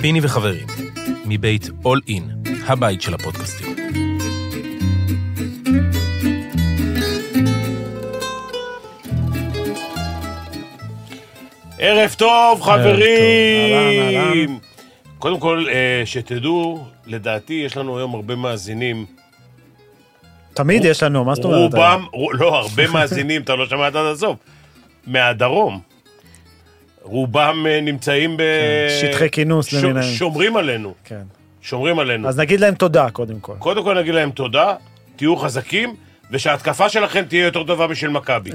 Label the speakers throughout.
Speaker 1: פיני וחברים, מבית All In, הבית של הפודקאסטים.
Speaker 2: ערב טוב, חברים!
Speaker 3: אהלן, אהלן.
Speaker 2: קודם כל, אה, שתדעו, לדעתי יש לנו היום הרבה מאזינים.
Speaker 3: תמיד יש לנו, מה זאת אומרת? אה,
Speaker 2: רובם, רו- לא, הרבה מאזינים, אתה לא שמעת עד הסוף. מהדרום. רובם אה, נמצאים ב...
Speaker 3: כן, שטחי כינוס
Speaker 2: ש-
Speaker 3: למיניהם.
Speaker 2: שומרים עלינו,
Speaker 3: כן.
Speaker 2: שומרים עלינו.
Speaker 3: אז נגיד להם תודה, קודם כל.
Speaker 2: קודם כל נגיד להם תודה, תהיו חזקים, ושההתקפה שלכם תהיה יותר טובה משל מכבי.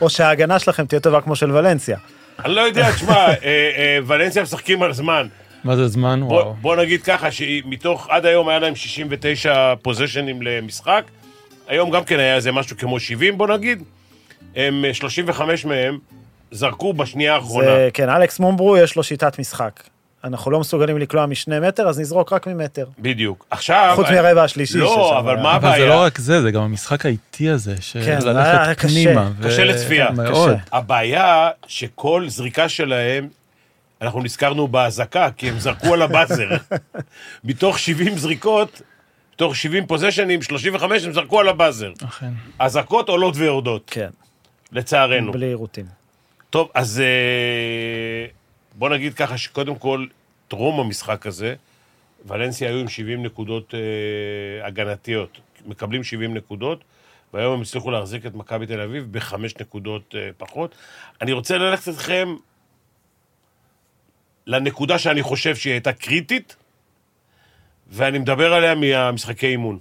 Speaker 3: או שההגנה שלכם תהיה טובה כמו של ולנסיה.
Speaker 2: אני לא יודע, תשמע, אה, אה, ולנסיה משחקים על זמן.
Speaker 4: מה זה זמן?
Speaker 2: בוא-
Speaker 4: וואו.
Speaker 2: בוא נגיד ככה, שמתוך, עד היום היה להם 69 פוזיישנים למשחק, היום גם כן היה איזה משהו כמו 70 בוא נגיד, הם אה, 35 מהם זרקו בשנייה האחרונה.
Speaker 3: זה, כן, אלכס מומברו יש לו שיטת משחק. אנחנו לא מסוגלים לקלוע משני מטר, אז נזרוק רק ממטר.
Speaker 2: בדיוק. עכשיו... אה,
Speaker 3: חוץ מהרבע השלישי ששם
Speaker 2: לא, אבל
Speaker 3: היה.
Speaker 2: מה
Speaker 4: אבל זה
Speaker 2: הבעיה?
Speaker 4: לא רק זה, זה גם המשחק האיטי הזה,
Speaker 3: כן,
Speaker 4: של
Speaker 3: זה היה
Speaker 4: ללכת
Speaker 3: קשה.
Speaker 4: פנימה. ו-
Speaker 2: קשה לצפייה.
Speaker 4: מאוד.
Speaker 3: כן, קשה.
Speaker 2: הבעיה שכל זריקה שלהם, אנחנו נזכרנו באזעקה, כי הם זרקו על הבאזר. מתוך 70 זריקות, מתוך 70 פוזיישנים, 35 הם זרקו על הבאזר.
Speaker 4: אכן.
Speaker 2: אזעקות עולות ויורדות,
Speaker 3: כן,
Speaker 2: לצערנו.
Speaker 3: בלי עירותים.
Speaker 2: טוב, אז אה, בוא נגיד ככה שקודם כל, טרום המשחק הזה, ולנסיה היו עם 70 נקודות אה, הגנתיות, מקבלים 70 נקודות, והיום הם הצליחו להחזיק את מכבי תל אביב בחמש נקודות אה, פחות. אני רוצה ללכת אתכם לנקודה שאני חושב שהיא הייתה קריטית, ואני מדבר עליה מהמשחקי אימון.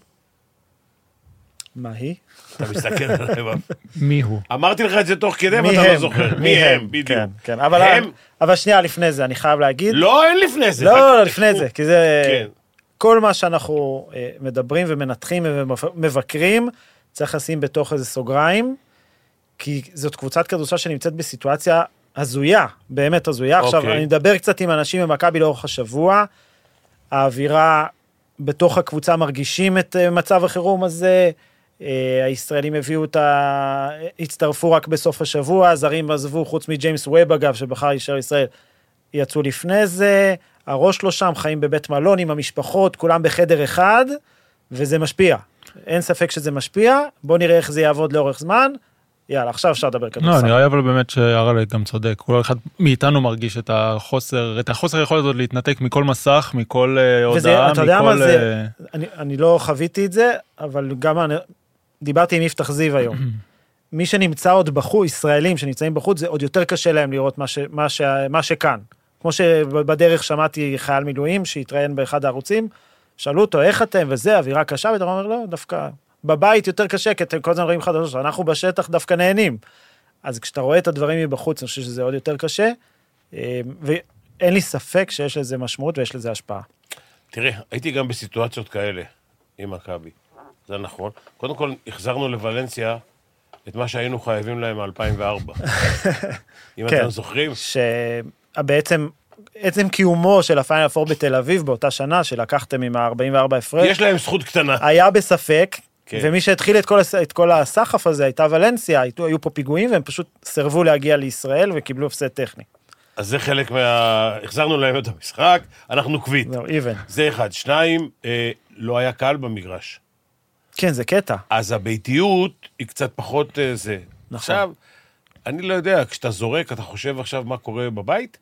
Speaker 3: מה היא?
Speaker 2: אתה מסתכל עליהם.
Speaker 4: מי הוא?
Speaker 2: אמרתי לך את זה תוך כדי,
Speaker 3: מי
Speaker 2: ואתה לא
Speaker 3: הם?
Speaker 2: זוכר. מי הם? בדיוק.
Speaker 3: כן, כן. אבל
Speaker 2: הם-
Speaker 3: אבל שנייה, לפני זה, אני חייב להגיד...
Speaker 2: לא, אין לפני זה.
Speaker 3: לא, לא,
Speaker 2: חכה,
Speaker 3: לפני זה, כי זה...
Speaker 2: כן.
Speaker 3: כל מה שאנחנו אה, מדברים ומנתחים ומבקרים, צריך לשים בתוך איזה סוגריים, כי זאת קבוצת כדורסל שנמצאת בסיטואציה הזויה, באמת הזויה. עכשיו,
Speaker 2: אוקיי.
Speaker 3: אני מדבר קצת עם אנשים ממכבי לאורך השבוע, האווירה בתוך הקבוצה מרגישים את אה, מצב החירום הזה. אה, הישראלים הביאו את ה... הצטרפו רק בסוף השבוע, הזרים עזבו, חוץ מג'יימס ווב אגב, שבחר להישאר ישראל, יצאו לפני זה, הראש לא שם, חיים בבית מלון עם המשפחות, כולם בחדר אחד, וזה משפיע. אין ספק שזה משפיע, בואו נראה איך זה יעבוד לאורך זמן. יאללה, עכשיו אפשר לדבר
Speaker 4: לא,
Speaker 3: כדורסל.
Speaker 4: נראה לי אבל באמת שהרלד גם צודק. כל אחד מאיתנו מרגיש את החוסר, את החוסר יכולת הזאת להתנתק מכל מסך, מכל אה,
Speaker 3: וזה-
Speaker 4: הודעה,
Speaker 3: אתה יודע מה
Speaker 4: מכל...
Speaker 3: זה?
Speaker 4: אה,
Speaker 3: אני, אני לא חוויתי את זה, אבל גם אני, דיברתי עם יפתח זיו היום. מי שנמצא עוד בחוץ, ישראלים שנמצאים בחוץ, זה עוד יותר קשה להם לראות מה, ש, מה, ש, מה שכאן. כמו שבדרך שמעתי חייל מילואים שהתראיין באחד הערוצים, שאלו אותו, איך אתם, וזה, אווירה קשה, ואתה אומר, לא, דווקא בבית יותר קשה, כי אתם כל הזמן רואים חדשות, אנחנו בשטח דווקא נהנים. אז כשאתה רואה את הדברים מבחוץ, אני חושב שזה עוד יותר קשה, אה, ואין לי ספק שיש לזה משמעות ויש לזה השפעה.
Speaker 2: תראה, הייתי גם בסיטואציות כאלה עם מכבי. זה נכון. קודם כל, החזרנו לוולנסיה את מה שהיינו חייבים להם מ-2004. אם
Speaker 3: כן.
Speaker 2: אתם זוכרים,
Speaker 3: שבעצם, עצם קיומו של הפיינל פור בתל אביב באותה שנה שלקחתם עם ה-44 הפרש,
Speaker 2: יש להם זכות קטנה.
Speaker 3: היה בספק,
Speaker 2: כן.
Speaker 3: ומי שהתחיל את כל, הס- את כל הסחף הזה הייתה ולנסיה, היו, היו פה פיגועים והם פשוט סירבו להגיע לישראל וקיבלו הפסד טכני.
Speaker 2: אז זה חלק מה... החזרנו להם את המשחק, אנחנו קווית.
Speaker 3: זהו, איבן.
Speaker 2: זה אחד. שניים, אה, לא היה קהל במגרש.
Speaker 3: כן, זה קטע.
Speaker 2: אז הביתיות היא קצת פחות אה, זה.
Speaker 3: נכון.
Speaker 2: עכשיו, אני לא יודע, כשאתה זורק, אתה חושב עכשיו מה קורה בבית?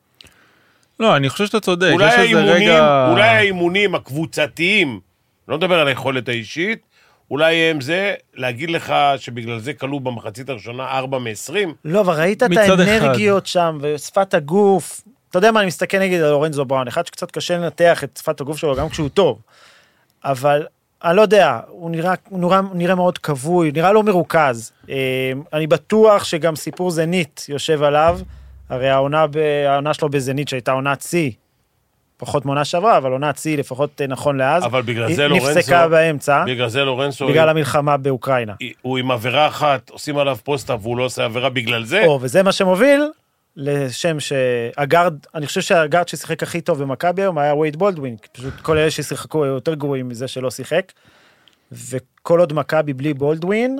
Speaker 4: לא, אני חושב שאתה צודק.
Speaker 2: אולי
Speaker 4: יש איזה
Speaker 2: האימונים,
Speaker 4: רגע-
Speaker 2: אולי האימונים הקבוצתיים, לא מדבר על היכולת האישית, אולי הם זה, להגיד לך שבגלל זה כלוא במחצית הראשונה 4 מ-20,
Speaker 3: לא, אבל ראית את
Speaker 4: מצד
Speaker 3: האנרגיות שם ושפת הגוף. אתה יודע מה, אני מסתכל נגיד על לורנזו בראון, אחד שקצת קשה לנתח את שפת הגוף שלו גם כשהוא טוב, אבל אני לא יודע, הוא נראה, הוא נראה, הוא נראה מאוד כבוי, נראה לא מרוכז. אה, אני בטוח שגם סיפור זנית יושב עליו, הרי העונה, ב, העונה שלו בזנית שהייתה עונת שיא, פחות מעונה שעברה, אבל עונת שיא לפחות אה, נכון לאז,
Speaker 2: אבל בגלל
Speaker 3: היא
Speaker 2: זה לורנזו...
Speaker 3: נפסקה באמצע,
Speaker 2: בגלל זה לורנזו,
Speaker 3: בגלל
Speaker 2: הוא,
Speaker 3: המלחמה באוקראינה.
Speaker 2: הוא עם עבירה אחת, עושים עליו פוסט-אפ והוא לא עושה עבירה בגלל זה,
Speaker 3: או, וזה מה שמוביל לשם שהגארד, אני חושב שהגארד ששיחק הכי טוב במכבי היום היה וייד בולדווין, כי פשוט כל אלה ששיחקו היו יותר גרועים מזה שלא שיחק, וכל עוד מכבי בלי בולדווין,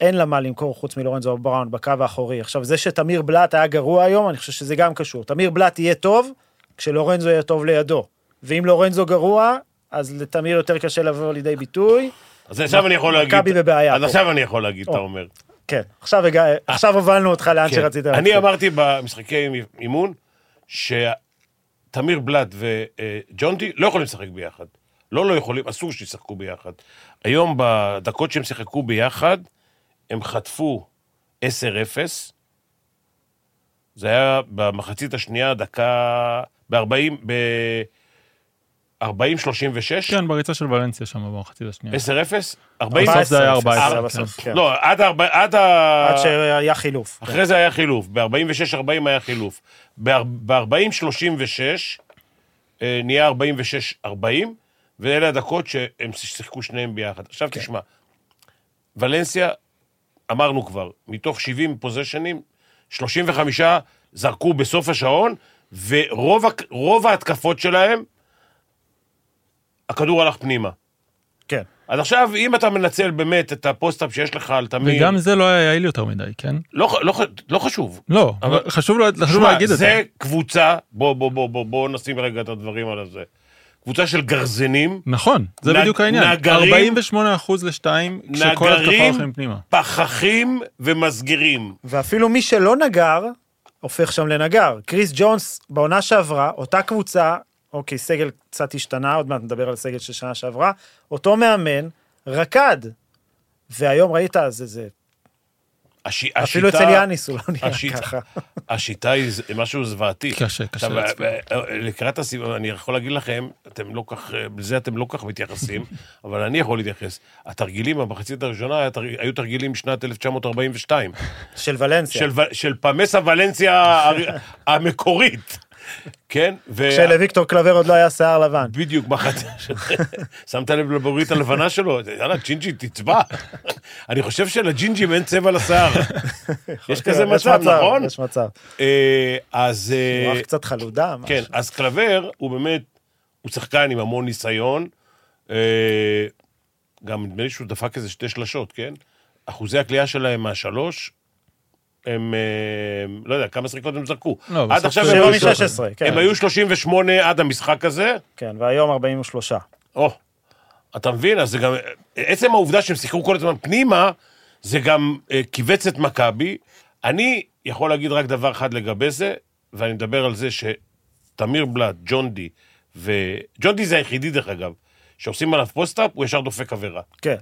Speaker 3: אין לה מה למכור חוץ מלורנזו בראון בקו האחורי. עכשיו, זה שתמיר בלאט היה גרוע היום, אני חושב שזה גם קשור. תמיר בלאט יהיה טוב, כשלורנזו יהיה טוב לידו. ואם לורנזו גרוע, אז לתמיר יותר קשה לבוא לידי ביטוי.
Speaker 2: אז עכשיו אני יכול להגיד...
Speaker 3: מכבי בבעיה
Speaker 2: אז
Speaker 3: פה.
Speaker 2: עכשיו אני יכול להגיד, אתה
Speaker 3: או.
Speaker 2: אומר.
Speaker 3: כן, עכשיו, הגע... עכשיו הובלנו אותך לאן
Speaker 2: כן.
Speaker 3: שרצית.
Speaker 2: אני
Speaker 3: להציג.
Speaker 2: אמרתי במשחקי אימון, שתמיר בלאט וג'ונדי לא יכולים לשחק ביחד. לא לא יכולים, אסור שישחקו ביחד. היום, בדקות שהם שיחקו ביחד, הם חטפו 10-0. זה היה במחצית השנייה, דקה... ב-40... ב-40-36.
Speaker 4: כן, בריצה של ולנסיה שם במחצית השנייה.
Speaker 2: 10-0? 40...
Speaker 4: בסוף זה היה
Speaker 3: 14,
Speaker 4: 14,
Speaker 3: בסוף, כן.
Speaker 2: לא, עד, ארבע, עד, ה...
Speaker 3: עד שהיה חילוף.
Speaker 2: אחרי זה היה חילוף, ב-46-40 היה חילוף. ב-40-36 אה, נהיה 46-40, ואלה הדקות שהם שיחקו שניהם ביחד. עכשיו
Speaker 4: כן.
Speaker 2: תשמע, ולנסיה, אמרנו כבר, מתוך 70 פוזיישנים, 35 זרקו בסוף השעון, ורוב הק- רוב ההתקפות שלהם, הכדור הלך פנימה.
Speaker 3: כן.
Speaker 2: אז עכשיו, אם אתה מנצל באמת את הפוסט-אפ שיש לך על תמיר...
Speaker 4: וגם זה לא היה יעיל יותר מדי, כן?
Speaker 2: לא, ח- לא, ח- לא חשוב.
Speaker 4: לא,
Speaker 2: אבל-
Speaker 4: אבל חשוב לה- חשוב
Speaker 2: תשמע,
Speaker 4: להגיד את
Speaker 2: זה
Speaker 4: זה.
Speaker 2: קבוצה, בוא, בוא, בוא, בוא, בוא נשים רגע את הדברים על הזה. קבוצה של גרזנים,
Speaker 4: נכון, זה
Speaker 2: נג-
Speaker 4: בדיוק העניין.
Speaker 2: נגרים-
Speaker 4: 48 אחוז ל-2, כשכל התקפה
Speaker 2: נגרים,
Speaker 4: הולכים פנימה.
Speaker 2: פחחים ומסגרים.
Speaker 3: ואפילו מי שלא נגר, הופך שם לנגר. קריס ג'ונס, בעונה שעברה, אותה קבוצה, אוקיי, סגל קצת השתנה, עוד מעט נדבר על סגל של שנה שעברה, אותו מאמן, רקד. והיום ראית, זה, זה,
Speaker 2: הש...
Speaker 3: אפילו
Speaker 2: השיטה-
Speaker 3: אצל יאניס הוא לא נראה
Speaker 2: השיטה-
Speaker 3: ככה.
Speaker 2: השיטה היא ז- משהו זוועתי.
Speaker 4: קשה, קשה
Speaker 2: עכשיו,
Speaker 4: להצביע.
Speaker 2: אה, אה, לקראת הסיבוב, אני יכול להגיד לכם, אתם לא כך, אה, לזה אתם לא כך מתייחסים, אבל אני יכול להתייחס. התרגילים במחצית הראשונה היה תרג- היו תרגילים משנת 1942.
Speaker 3: של ולנסיה.
Speaker 2: של, ו- של פמסה ולנסיה הר- המקורית, כן? ו...
Speaker 3: כשלוויקטור קלבר עוד לא היה שיער לבן.
Speaker 2: בדיוק, מחצית, שמת לב לבורית הלבנה שלו? יאללה, ג'ינג'י, תצבע. אני חושב שלג'ינג'ים אין צבע לשיער. יש כזה מצב, נכון?
Speaker 3: יש מצב.
Speaker 2: אה, אז... אה,
Speaker 3: הוא רק קצת חלודה, משהו.
Speaker 2: כן, אז קלבר הוא באמת, הוא שחקן עם המון ניסיון. אה, גם נדמה לי שהוא דפק איזה שתי שלשות, כן? אחוזי הקליעה שלהם מהשלוש, הם, אה, לא יודע, כמה סריקות הם זרקו.
Speaker 4: לא,
Speaker 2: עד
Speaker 4: בסוף
Speaker 2: עכשיו
Speaker 4: זה
Speaker 2: הם
Speaker 4: שבע
Speaker 2: היו
Speaker 4: מ-
Speaker 3: 16, כן.
Speaker 2: הם היו 38 עד המשחק הזה.
Speaker 3: כן, והיום 43.
Speaker 2: או, אתה מבין? אז זה גם... עצם העובדה שהם שיחקו כל הזמן פנימה, זה גם אה, כיווץ את מכבי. אני יכול להגיד רק דבר אחד לגבי זה, ואני מדבר על זה שתמיר בלאט, ג'ון די, ו... ג'ון די זה היחידי, דרך אגב, שעושים עליו פוסט-אפ, הוא ישר דופק עבירה.
Speaker 3: כן.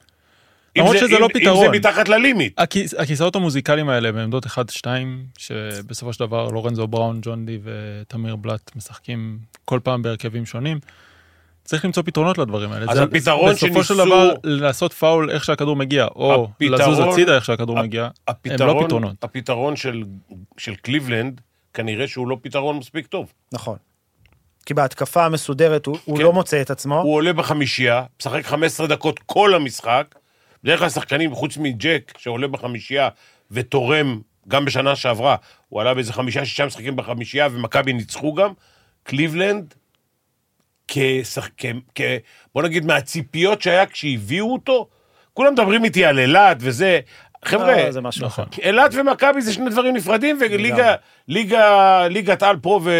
Speaker 2: אם
Speaker 4: למרות שזה
Speaker 2: אם-
Speaker 4: לא
Speaker 2: אם
Speaker 4: פתרון.
Speaker 2: זה מתחת ללימיט.
Speaker 4: הכיס- הכיסאות המוזיקליים האלה בעמדות 1-2, שבסופו של דבר לורנזו בראון, ג'ון די ותמיר בלאט משחקים כל פעם בהרכבים שונים. צריך למצוא פתרונות לדברים האלה.
Speaker 2: אז
Speaker 4: זה-
Speaker 2: הפתרון
Speaker 4: בסופו של
Speaker 2: שניסו-
Speaker 4: דבר, לעשות פאול איך שהכדור מגיע, או
Speaker 2: הפתרון-
Speaker 4: לזוז הצידה איך שהכדור
Speaker 2: הפ-
Speaker 4: מגיע, הם
Speaker 2: הפתרון,
Speaker 4: לא פתרונות.
Speaker 2: הפתרון של, של קליבלנד, כנראה שהוא לא פתרון מספיק טוב.
Speaker 3: נכון. כי בהתקפה המסודרת הוא, הוא
Speaker 2: כן.
Speaker 3: לא מוצא את עצמו.
Speaker 2: הוא עולה בחמישייה, משחק 15 דקות כל המשחק. בדרך כלל שחקנים, חוץ מג'ק, שעולה בחמישייה ותורם, גם בשנה שעברה, הוא עלה באיזה חמישה-שישה משחקים בחמישייה, ומכבי ניצחו גם. קליבלנד, כשח... כ... כ... בוא נגיד, מהציפיות שהיה כשהביאו אותו, כולם מדברים איתי על אילת וזה. חבר'ה,
Speaker 3: אה, זה משהו
Speaker 4: נכון.
Speaker 3: אחר.
Speaker 2: אילת ומכבי זה שני דברים נפרדים, וליגה,
Speaker 3: לגמרי.
Speaker 2: ליגה, ליגת על פה ו...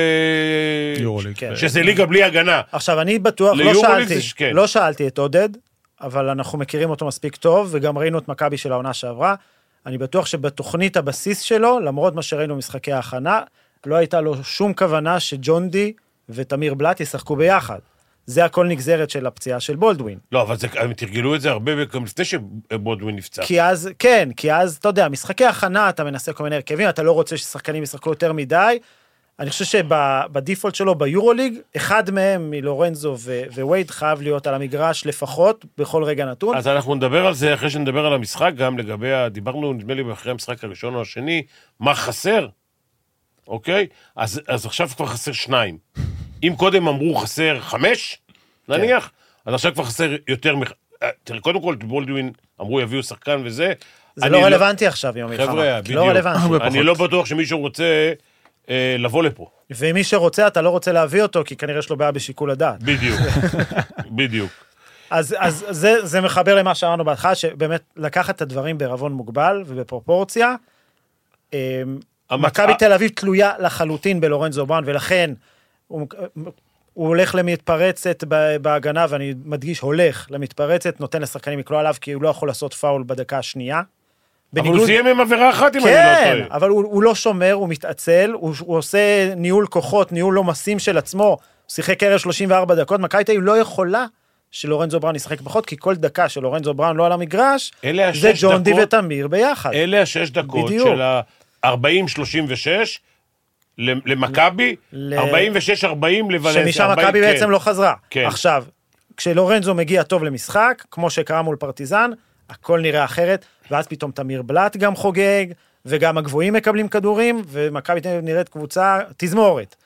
Speaker 4: יורוליג.
Speaker 3: כן.
Speaker 2: שזה ליגה בלי הגנה.
Speaker 3: עכשיו, אני בטוח, לא
Speaker 2: ליורוליג
Speaker 3: שאלתי,
Speaker 2: זה ש- כן.
Speaker 3: לא שאלתי את עודד, אבל אנחנו מכירים אותו מספיק טוב, וגם ראינו את מכבי של העונה שעברה. אני בטוח שבתוכנית הבסיס שלו, למרות מה שראינו במשחקי ההכנה, לא הייתה לו שום כוונה שג'ון די ותמיר בלאט ישחקו ביחד. זה הכל נגזרת של הפציעה של בולדווין.
Speaker 2: לא, אבל זה, הם תרגלו את זה הרבה גם לפני שבודווין נפצע.
Speaker 3: כי אז, כן, כי אז, אתה יודע, משחקי הכנה, אתה מנסה כל מיני הרכבים, אתה לא רוצה ששחקנים ישחקו יותר מדי. אני חושב שבדיפולט שלו ביורוליג, אחד מהם מלורנזו ו- ווייד חייב להיות על המגרש לפחות בכל רגע נתון.
Speaker 2: אז אנחנו נדבר על זה אחרי שנדבר על המשחק, גם לגבי, ה- דיברנו, נדמה לי, אחרי המשחק הראשון או השני, מה חסר, אוקיי? אז, אז עכשיו כבר חסר שניים. אם קודם אמרו חסר חמש,
Speaker 3: כן.
Speaker 2: נניח, אז עכשיו כבר חסר יותר מח... אה, תראה, קודם כל, בולדווין אמרו יביאו שחקן וזה.
Speaker 3: זה
Speaker 2: אני
Speaker 3: לא רלוונטי עכשיו עם המלחמה.
Speaker 2: חבר'ה,
Speaker 3: כי לא
Speaker 2: בדיוק.
Speaker 3: רלוונטי.
Speaker 2: אני
Speaker 4: פחות.
Speaker 2: לא בטוח שמישהו רוצה אה, לבוא לפה.
Speaker 3: ומי שרוצה, אתה לא רוצה להביא אותו, כי כנראה יש לו בעיה בשיקול הדעת.
Speaker 2: בדיוק, בדיוק.
Speaker 3: אז, אז זה, זה מחבר למה שאמרנו בהתחלה, שבאמת לקחת את הדברים בערבון מוגבל ובפרופורציה. אמ,
Speaker 2: המצ-
Speaker 3: מכבי תל אביב תלויה לחלוטין בלורנזו בראון, ולכן הוא, הוא הולך למתפרצת ב- בהגנה, ואני מדגיש, הולך למתפרצת, נותן לשחקנים לקלוע עליו, כי הוא לא יכול לעשות פאול בדקה השנייה.
Speaker 2: אבל הוא סיים עם עבירה אחת, אם אני לא
Speaker 3: כן,
Speaker 2: טועה.
Speaker 3: אבל הוא, הוא לא שומר, הוא מתעצל, הוא, הוא עושה ניהול כוחות, ניהול עומסים של עצמו. הוא שיחק ערב 34 דקות, מכבי תל אביב לא יכולה שלורנזו בראון ישחק פחות, כי כל דקה שלורנזו בראון לא על המגרש,
Speaker 2: אלה השש
Speaker 3: זה ג'ון די
Speaker 2: דקות-
Speaker 3: ותמיר ביחד.
Speaker 2: אלה השש דקות
Speaker 3: בדיוק.
Speaker 2: של ה-40-36 למכבי,
Speaker 3: ל-
Speaker 2: 46-40 לוולנסיה.
Speaker 3: שמשם
Speaker 2: 40, כן.
Speaker 3: מכבי בעצם לא חזרה.
Speaker 2: כן.
Speaker 3: עכשיו, כשלורנזו מגיע טוב למשחק, כמו שקרה מול פרטיזן, הכל נראה אחרת, ואז פתאום תמיר בלאט גם חוגג, וגם הגבוהים מקבלים כדורים, ומכבי תל אביב נראית קבוצה תזמורת.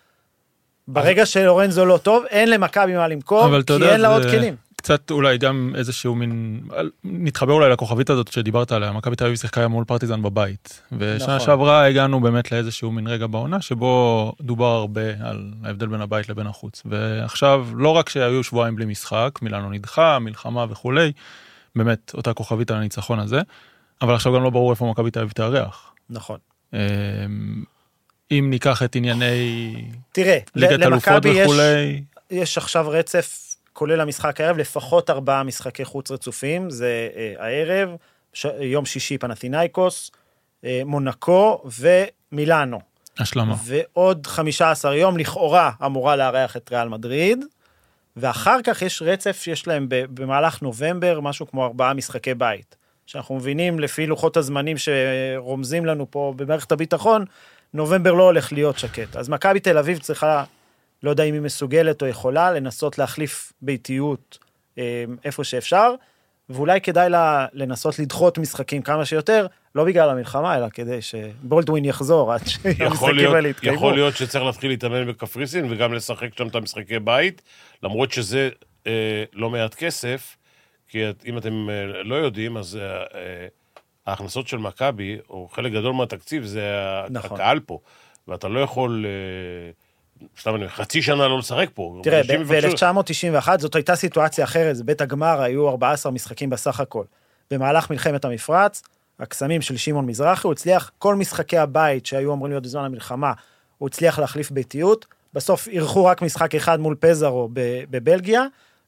Speaker 3: ברגע שלורנזו לא טוב, אין למכבי מה למכור,
Speaker 4: אבל אתה
Speaker 3: כי
Speaker 4: יודע,
Speaker 3: אין לה
Speaker 4: זה
Speaker 3: עוד כלים.
Speaker 4: קצת אולי גם איזשהו מין, אל- נתחבר אולי לכוכבית הזאת שדיברת עליה, מכבי תל אביב שיחקה מול פרטיזן בבית. ושנה
Speaker 3: נכון.
Speaker 4: שעברה הגענו באמת לאיזשהו מין רגע בעונה שבו דובר הרבה על ההבדל בין הבית לבין החוץ. ועכשיו, לא רק שהיו שבועיים בלי משחק, מילאנו נדחה, מלחמה וכולי, באמת אותה כוכבית על הניצחון הזה, אבל עכשיו גם לא ברור איפה מכבי תל אביב תארח.
Speaker 3: נכון.
Speaker 4: אמ, אם ניקח את ענייני
Speaker 3: תראה,
Speaker 4: ליגת
Speaker 3: ל-
Speaker 4: אלופות
Speaker 3: למכבי יש-
Speaker 4: וכולי,
Speaker 3: יש עכשיו רצף, כולל המשחק הערב, לפחות ארבעה משחקי חוץ רצופים, זה אה, הערב, ש... יום שישי פנתינייקוס, אה, מונקו ומילאנו.
Speaker 4: השלמה.
Speaker 3: ועוד 15 יום לכאורה אמורה לארח את ריאל מדריד, ואחר כך יש רצף שיש להם ב- במהלך נובמבר משהו כמו ארבעה משחקי בית. שאנחנו מבינים לפי לוחות הזמנים שרומזים לנו פה במערכת הביטחון, נובמבר לא הולך להיות שקט. אז מכבי תל אביב צריכה, לא יודע אם היא מסוגלת או יכולה, לנסות להחליף ביתיות אה, איפה שאפשר, ואולי כדאי לה לנסות לדחות משחקים כמה שיותר, לא בגלל המלחמה, אלא כדי שבולדווין יחזור עד
Speaker 2: יכול
Speaker 3: שהמשחקים האלה
Speaker 2: להיות,
Speaker 3: יתקיימו.
Speaker 2: יכול להיות שצריך להתחיל להתאמן בקפריסין וגם לשחק שם את המשחקי בית, למרות שזה אה, לא מעט כסף, כי את- אם אתם אה, לא יודעים, אז אה, אה, ההכנסות של מכבי, או חלק גדול מהתקציב, זה ה-
Speaker 3: נכון.
Speaker 2: הקהל פה, ואתה לא יכול, אה, סתם אני אומר, חצי שנה לא לשחק פה.
Speaker 3: תראה,
Speaker 2: אנשים יבקשו-
Speaker 3: ב-1991 זאת הייתה סיטואציה אחרת, זה בית הגמר היו 14 משחקים בסך הכל. במהלך מלחמת המפרץ, הקסמים של שמעון מזרחי, הוא הצליח, כל משחקי הבית שהיו אמורים להיות בזמן המלחמה, הוא הצליח להחליף ביתיות, בסוף אירחו רק משחק אחד מול פזרו ב- בבלגיה,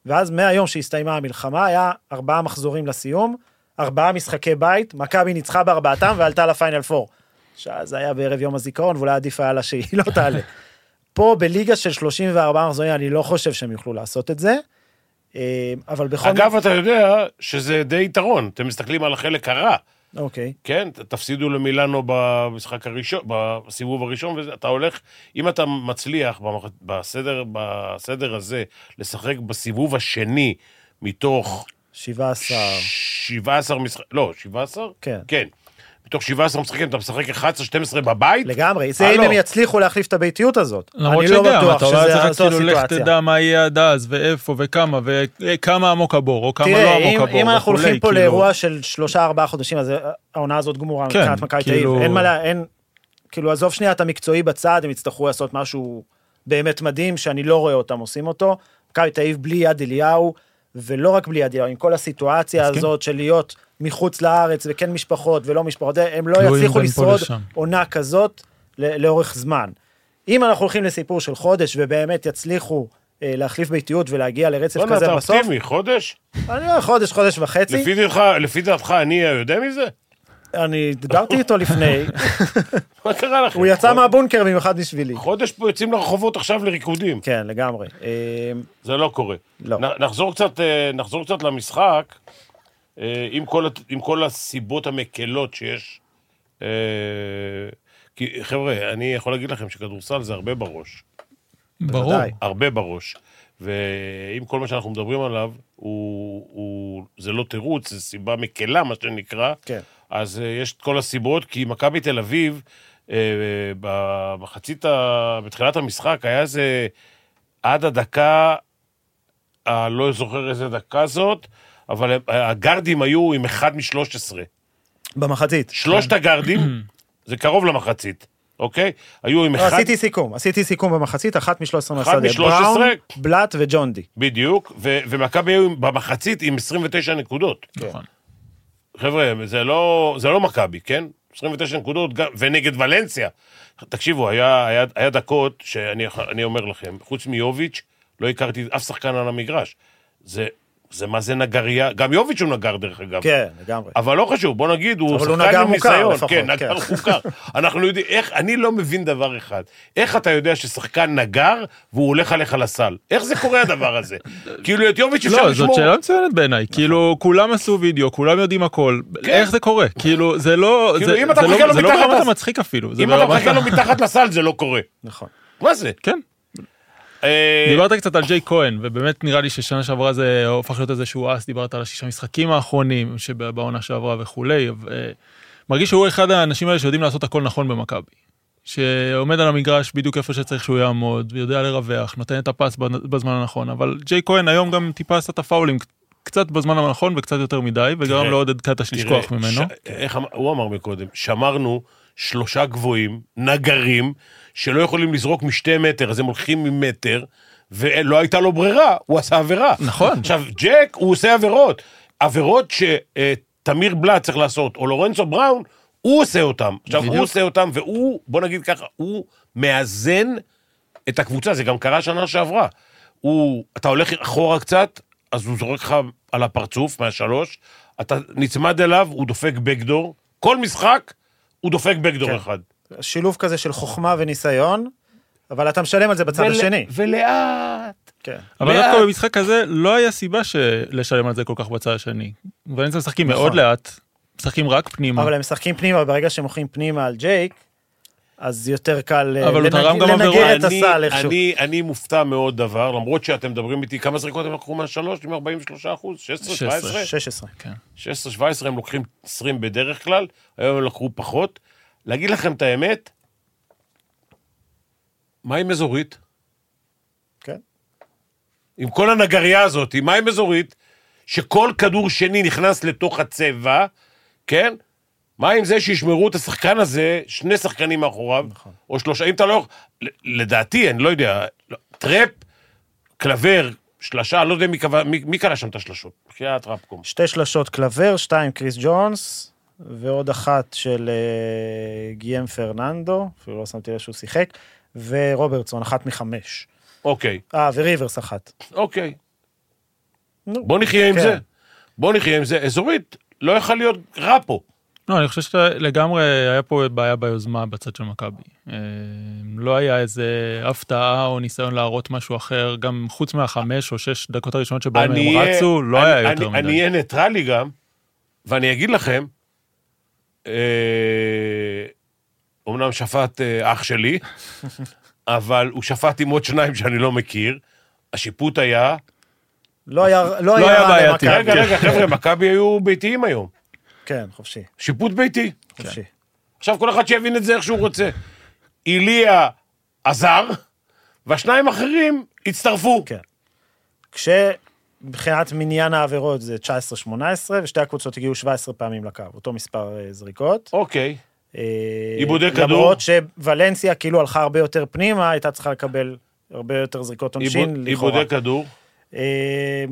Speaker 3: ואז מהיום שהסתיימה המלחמה, היה ארבעה מחזורים לסיום, ארבעה משחקי בית, מכבי ניצחה בארבעתם ועלתה לפיינל פור. שאז זה היה בערב יום הזיכרון, ואולי עדיף היה לה שהיא לא תעלה. פה בליגה של 34 מחזורים, אני לא חושב שהם יוכלו לעשות את זה, אה, אבל בכל...
Speaker 2: אגב, אתה יודע שזה די יתרון, אתם מסתכלים על החלק הרע.
Speaker 3: אוקיי.
Speaker 2: כן, ת- תפסידו למילאנו במשחק הראשון, בסיבוב הראשון, ואתה הולך, אם אתה מצליח במח... בסדר, בסדר הזה לשחק בסיבוב השני מתוך
Speaker 3: 17.
Speaker 2: 17 משחקים, לא, 17?
Speaker 3: כן.
Speaker 2: כן. מתוך 17 משחקים, אתה משחק 11-12 בבית?
Speaker 3: לגמרי, זה אם
Speaker 2: הלו.
Speaker 3: הם יצליחו להחליף את הביתיות הזאת.
Speaker 4: אה, לא. למרות
Speaker 3: אני לא
Speaker 4: שגם,
Speaker 3: בטוח
Speaker 4: אתה רואה,
Speaker 3: שזה
Speaker 4: צריך כאילו לך
Speaker 3: הסיטואציה.
Speaker 4: תדע מה יהיה עד אז, ואיפה, וכמה, וכמה עמוק הבור, או כמה לא
Speaker 3: תראה,
Speaker 4: עמוק
Speaker 3: אם,
Speaker 4: הבור,
Speaker 3: אם אנחנו
Speaker 4: וכולי,
Speaker 3: הולכים פה
Speaker 4: כאילו,
Speaker 3: לאירוע של שלושה ארבעה חודשים, אז אה, העונה הזאת גמורה
Speaker 4: כן,
Speaker 3: מבחינת מכבי תל אביב.
Speaker 4: כאילו-
Speaker 3: אין מה לה, אין, כאילו עזוב שנייה את המקצועי בצד, הם יצטרכו לעשות משהו באמת מדהים, שאני לא רואה אותם עושים אותו. מכבי תל אביב בלי יד אליהו, ולא רק בלי יד אליהו, עם כל הסיטואציה
Speaker 4: מסכים.
Speaker 3: הזאת של להיות מחוץ לארץ, וכן משפחות ולא משפחות, הם לא
Speaker 4: תלויים
Speaker 3: יצליחו
Speaker 4: בין פה
Speaker 3: לשרוד
Speaker 4: לשם.
Speaker 3: עונה כזאת ל- לאורך זמן. אם אנחנו הולכים לסיפור של חודש, ובאמת יצליחו אה, להחליף ביתיות ולהגיע לרצף
Speaker 2: בוא'נה,
Speaker 3: כזה
Speaker 2: לא, אתה
Speaker 3: בסוף,
Speaker 2: אופטימי, חודש?
Speaker 3: אני אומר חודש, חודש וחצי,
Speaker 2: לפי דעתך, לפי דעתך אני יודע מזה?
Speaker 3: אני דיברתי איתו לפני,
Speaker 2: מה קרה לכם?
Speaker 3: הוא יצא
Speaker 2: חוד-
Speaker 3: מהבונקר במיוחד בשבילי.
Speaker 2: חודש פה יוצאים לרחובות עכשיו לריקודים.
Speaker 3: כן, לגמרי. אה,
Speaker 2: זה לא קורה.
Speaker 3: לא.
Speaker 2: נ- נחזור קצת, אה, נחזור קצת למשחק, אה, עם כל, הת- עם כל הסיבות המקלות שיש. אה, כי חבר'ה, אני יכול להגיד לכם שכדורסל זה הרבה בראש.
Speaker 4: ברור.
Speaker 3: בוודאי.
Speaker 2: הרבה בראש. ואם כל מה שאנחנו מדברים עליו, הוא, הוא, זה לא תירוץ, זה סיבה מקלה, מה שנקרא,
Speaker 3: כן.
Speaker 2: אז אה, יש את כל הסיבות, כי מכבי תל אביב, אה, במחצית, ה... בתחילת המשחק, היה איזה עד הדקה, אה, לא זוכר איזה דקה זאת, אבל הם- אה, הגארדים היו עם אחד משלוש עשרה.
Speaker 3: במחצית.
Speaker 2: שלושת הגארדים, זה קרוב למחצית, אוקיי? היו עם
Speaker 3: לא,
Speaker 2: אחד...
Speaker 3: עשיתי סיכום, עשיתי סיכום במחצית, אחת מ-13
Speaker 2: אחת
Speaker 3: מהשדה.
Speaker 2: מ-13.
Speaker 3: בראון, בלאט וג'ון די.
Speaker 2: בדיוק, ו- ומכבי היו עם- במחצית עם 29 נקודות.
Speaker 4: נכון.
Speaker 2: חבר'ה, זה לא, זה לא מכבי, כן? 29 נקודות, גם- ונגד ולנסיה. תקשיבו, היה, היה, היה דקות שאני אני אומר לכם, חוץ מיוביץ', לא הכרתי אף שחקן על המגרש. זה, זה מה זה נגריה, גם יוביץ' הוא נגר דרך אגב.
Speaker 3: כן, לגמרי.
Speaker 2: אבל לא חשוב, בוא נגיד, הוא
Speaker 3: אבל הוא
Speaker 2: שחקן
Speaker 3: נגר
Speaker 2: עם
Speaker 3: מוכר
Speaker 2: ניסיון.
Speaker 3: לפחות,
Speaker 2: כן, נגר
Speaker 3: כן.
Speaker 2: מוכר. אנחנו יודעים, איך, אני לא מבין דבר אחד. איך אתה יודע ששחקן נגר והוא הולך עליך לסל? איך זה קורה הדבר הזה? כאילו את
Speaker 3: כן.
Speaker 2: יוביץ' אפשר
Speaker 4: לא, זאת
Speaker 2: לשמור.
Speaker 4: שאלה מצוינת בעיניי,
Speaker 3: נכון.
Speaker 4: כאילו כולם עשו וידאו, כולם יודעים הכל,
Speaker 3: כן.
Speaker 4: איך זה קורה? כאילו זה לא,
Speaker 2: כאילו,
Speaker 4: זה
Speaker 2: אם אתה
Speaker 4: זה לא-
Speaker 2: מחכה לו
Speaker 4: זה לא
Speaker 2: מתחת
Speaker 4: ברמת
Speaker 2: לס-
Speaker 4: המצחיק אפילו, זה
Speaker 2: אם אתה
Speaker 4: ברמת
Speaker 2: מחכה
Speaker 4: ה-
Speaker 2: לו מתחת לסל זה לא קורה.
Speaker 3: נכון.
Speaker 2: מה זה?
Speaker 4: כן.
Speaker 2: אה,
Speaker 4: דיברת קצת על ג'יי כהן, ובאמת נראה לי ששנה שעברה זה הופך להיות איזשהו אס, דיברת על השישה משחקים האחרונים שבעונה שעברה וכולי, ו- מרגיש שהוא אחד האנשים האלה שיודעים לעשות הכל נכון במכבי. שעומד על המגרש בדיוק איפה שצריך שהוא יעמוד, יודע לרווח, נותן את הפס בנ- בזמן הנכון, אבל ג'יי כהן היום גם טיפה עשה את הפאולים ק- קצת בזמן הנכון וקצת יותר מדי, וגרם
Speaker 2: תראה,
Speaker 4: לעודד קטש
Speaker 2: תראה,
Speaker 4: לשכוח ממנו.
Speaker 2: ש- איך אמר- הוא אמר מקודם, שמרנו שלושה גבוהים, נגרים, שלא יכולים לזרוק משתי מטר, אז הם הולכים ממטר, ולא הייתה לו ברירה, הוא עשה עבירה.
Speaker 4: נכון.
Speaker 2: עכשיו, ג'ק, הוא עושה עבירות. עבירות שתמיר בלאט צריך לעשות, או לורנצו בראון, הוא עושה אותם. עכשיו, הוא
Speaker 4: בדיוק.
Speaker 2: עושה אותם, והוא, בוא נגיד ככה, הוא מאזן את הקבוצה, זה גם קרה שנה שעברה. הוא, אתה הולך אחורה קצת, אז הוא זורק לך על הפרצוף מהשלוש, אתה נצמד אליו, הוא דופק בקדור, כל משחק הוא דופק בקדור
Speaker 3: כן.
Speaker 2: אחד.
Speaker 3: שילוב כזה של חוכמה וניסיון, אבל אתה משלם על זה בצד
Speaker 2: ול-
Speaker 3: השני.
Speaker 2: ולאט.
Speaker 3: כן.
Speaker 4: אבל
Speaker 2: לאט.
Speaker 4: דווקא במשחק הזה לא היה סיבה של- לשלם על זה כל כך בצד השני. ואני משחקים מאוד לאט, משחקים רק פנימה.
Speaker 3: אבל הם משחקים פנימה, וברגע שהם מוכרים פנימה על ג'ייק, אז יותר קל אה,
Speaker 4: אבל הוא
Speaker 3: לנג-
Speaker 4: תרם גם עבירות.
Speaker 3: לנגר את
Speaker 2: אני-
Speaker 3: הסל איכשהו.
Speaker 2: אני, אני מופתע מאוד דבר, למרות שאתם מדברים איתי, כמה זריקות הם לקחו מהשלוש? עם 43 אחוז? 16, 17?
Speaker 3: 16.
Speaker 4: כן.
Speaker 2: 16, 17 הם לוקחים 20 בדרך כלל, היום הם לקחו פחות. להגיד לכם את האמת, מה עם אזורית?
Speaker 3: כן.
Speaker 2: עם כל הנגרייה הזאת, עם מים אזורית, שכל כדור שני נכנס לתוך הצבע, כן? מה עם זה שישמרו את השחקן הזה, שני שחקנים מאחוריו, נכון. או שלושה, אם אתה לא... יכול- ל- לדעתי, אני לא יודע, לא, טראפ, קלבר, שלשה, אני לא יודע מי קבע, מי, מי קלע שם את השלשות, בחייאת רפקום.
Speaker 3: שתי שלשות קלבר, שתיים קריס ג'ונס, ועוד אחת של אה, גיאם פרננדו, אפילו לא שמתי לב שהוא שיחק, ורוברטסון, אחת מחמש.
Speaker 2: אוקיי,
Speaker 3: אה, וריברס אחת.
Speaker 2: אוקיי.
Speaker 3: נו.
Speaker 2: בוא נחיה עם
Speaker 3: כן.
Speaker 2: זה. בוא נחיה עם זה. אזורית, לא יכול להיות רע פה.
Speaker 4: לא, אני חושב שלגמרי היה פה בעיה ביוזמה בצד של מכבי. אה, לא היה איזה הפתעה או ניסיון להראות משהו אחר, גם חוץ מהחמש או שש דקות הראשונות שבהם הם
Speaker 2: אהיה-
Speaker 4: רצו, לא
Speaker 2: אני-
Speaker 4: היה יותר
Speaker 2: אני- אני
Speaker 4: מדי.
Speaker 2: אהיה ניטרלי גם, ואני אגיד לכם, אה, אומנם שפט אה, אח שלי, אבל הוא שפט עם עוד שניים שאני לא מכיר. השיפוט היה...
Speaker 3: לא היה לא
Speaker 4: לא היה
Speaker 3: היה רע
Speaker 4: בעייתי. כן.
Speaker 3: למכבי.
Speaker 2: רגע, רגע, חבר'ה, מכבי היו ביתיים היום.
Speaker 3: כן, חופשי,
Speaker 2: שיפוט ביתי.
Speaker 3: חופשי.
Speaker 2: עכשיו כל אחד שיבין את זה איך שהוא רוצה. איליה עזר, והשניים האחרים הצטרפו.
Speaker 3: כן. כשמבחינת מניין העבירות זה 19-18, ושתי הקבוצות הגיעו 17 פעמים לקו, אותו מספר אה, זריקות.
Speaker 2: אוקיי.
Speaker 3: אה,
Speaker 2: עיבודי
Speaker 3: למרות
Speaker 2: כדור.
Speaker 3: שוולנסיה כאילו הלכה הרבה יותר פנימה, הייתה צריכה לקבל הרבה יותר זריקות עונשין,
Speaker 2: עיבוד-
Speaker 3: לכאורה.
Speaker 2: עיבודי כדור.
Speaker 3: אה,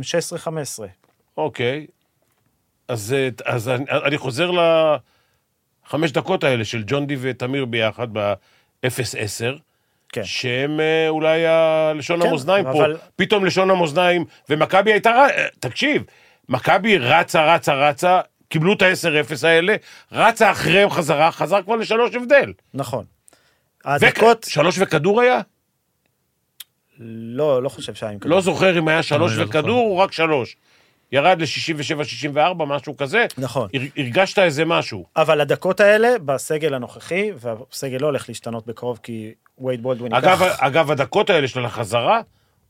Speaker 3: 16-15.
Speaker 2: אוקיי. אז, אה, אז אני, אני חוזר לחמש דקות האלה של ג'ונדי ותמיר ביחד ב-0-10,
Speaker 3: כן.
Speaker 2: שהם אה, אולי ה- לשון
Speaker 3: כן,
Speaker 2: המאזניים
Speaker 3: אבל-
Speaker 2: פה. פתאום לשון המאזניים, ומכבי הייתה... ר- אה, תקשיב, מכבי רצה, רצה, רצה, קיבלו את ה-10-0 האלה, רצה אחריהם חזרה, חזר כבר לשלוש הבדל.
Speaker 3: נכון.
Speaker 2: וכ-
Speaker 3: הדקות,
Speaker 2: שלוש וכדור היה?
Speaker 3: לא, לא חושב שהיה עם כדור.
Speaker 2: לא זוכר אם היה שלוש
Speaker 4: אני לא זוכר.
Speaker 2: וכדור, הוא רק שלוש. ירד ל-67-64, משהו כזה.
Speaker 3: נכון.
Speaker 2: הר- הרגשת איזה משהו.
Speaker 3: אבל הדקות האלה, בסגל הנוכחי, והסגל לא הולך להשתנות בקרוב, כי וייד בולדווין
Speaker 2: אגב,
Speaker 3: ייקח...
Speaker 2: אגב, הדקות האלה של החזרה,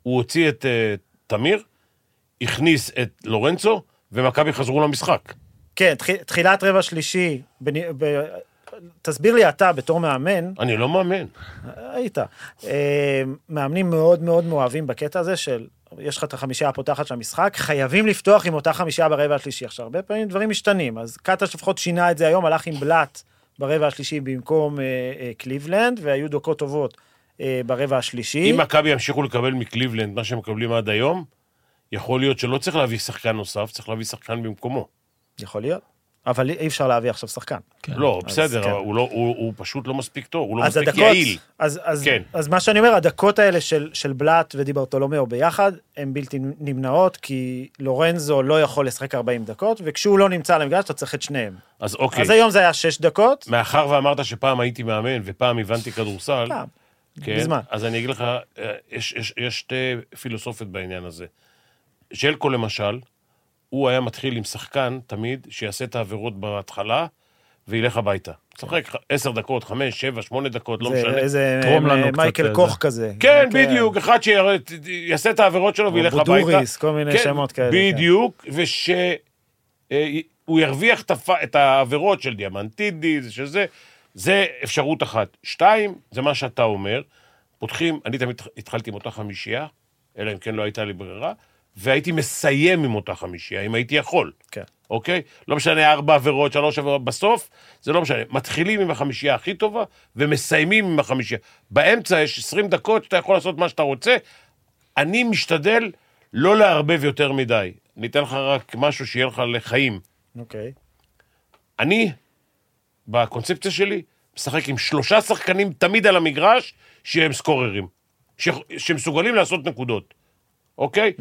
Speaker 2: הוא הוציא את uh, תמיר, הכניס את לורנצו, ומכבי חזרו למשחק.
Speaker 3: כן, תח- תחילת רבע שלישי, בני- ב- תסביר לי אתה, בתור מאמן,
Speaker 2: אני לא מאמן.
Speaker 3: היית, אה, מאמנים מאוד מאוד מאוהבים בקטע הזה של, יש לך את החמישייה הפותחת של המשחק, חייבים לפתוח עם אותה חמישייה ברבע השלישי. עכשיו, הרבה פעמים דברים משתנים, אז קטש לפחות שינה את זה היום, הלך עם בלאט ברבע השלישי במקום אה, אה, קליבלנד, והיו דקות טובות אה, ברבע השלישי.
Speaker 2: אם מכבי ימשיכו לקבל מקליבלנד מה שהם מקבלים עד היום, יכול להיות שלא צריך להביא שחקן נוסף, צריך להביא שחקן במקומו.
Speaker 3: יכול להיות. אבל אי אפשר להביא עכשיו שחקן.
Speaker 4: כן.
Speaker 2: לא,
Speaker 3: אז
Speaker 2: בסדר,
Speaker 3: כן.
Speaker 2: אבל הוא לא- הוא הוא פשוט לא מספיק טוב, הוא לא
Speaker 3: אז
Speaker 2: מספיק
Speaker 3: הדקות,
Speaker 2: יעיל.
Speaker 3: אז, אז,
Speaker 2: כן.
Speaker 3: כן. אז מה שאני אומר, הדקות האלה של, של בלאט ודיברטולומיאו ביחד, הן בלתי נמנעות, כי לורנזו לא יכול לשחק 40 דקות, וכשהוא לא נמצא על המגרש, אתה צריך את שניהם.
Speaker 2: אז
Speaker 3: Okay.
Speaker 2: אוקיי,
Speaker 3: אז היום זה היה 6 דקות,
Speaker 2: מאחר ואמרת שפעם הייתי מאמן ופעם הבנתי כדורסל,
Speaker 3: פעם,
Speaker 2: כן,
Speaker 3: מזמן.
Speaker 2: אז אני אגיד לך, אה, יש, יש, יש שתי פילוסופיות בעניין הזה. ז'לקו למשל, הוא היה מתחיל עם שחקן תמיד, שיעשה את העבירות בהתחלה, וילך הביתה. צחק עשר דקות, חמש, שבע, שמונה דקות, לא
Speaker 3: כן. זה
Speaker 2: משנה.
Speaker 3: איזה
Speaker 4: תרום לנו
Speaker 3: אה,
Speaker 4: קצת
Speaker 3: מייקל
Speaker 4: זה.
Speaker 3: קוך כזה.
Speaker 2: כן,
Speaker 3: מייקל-
Speaker 2: בדיוק, אחד שיעשה את העבירות שלו וילך הביתה.
Speaker 3: בודוריס, כל מיני
Speaker 2: כן,
Speaker 3: שמות כאלה, כן.
Speaker 2: בדיוק, ושהוא ירוויח את הפ- את העבירות של דיאמנטידיס, שזה, זה אפשרות אחת. שתיים, זה מה שאתה אומר, פותחים, אני תמיד התחלתי עם אותה חמישייה, אלא אם כן לא הייתה לי ברירה, והייתי מסיים עם אותה חמישייה, אם הייתי יכול.
Speaker 3: כן.
Speaker 2: אוקיי? לא משנה, ארבע עבירות, שלוש עבירות, בסוף, זה לא משנה. מתחילים עם החמישייה הכי טובה, ומסיימים עם החמישייה. באמצע יש 20 דקות שאתה יכול לעשות מה שאתה רוצה. אני משתדל לא לערבב יותר מדי. אני אתן לך רק משהו שיהיה לך לחיים.
Speaker 3: אוקיי.
Speaker 2: אני, בקונספציה שלי, משחק עם שלושה שחקנים תמיד על המגרש, שהם סקוררים. ש... שמסוגלים לעשות נקודות, אוקיי?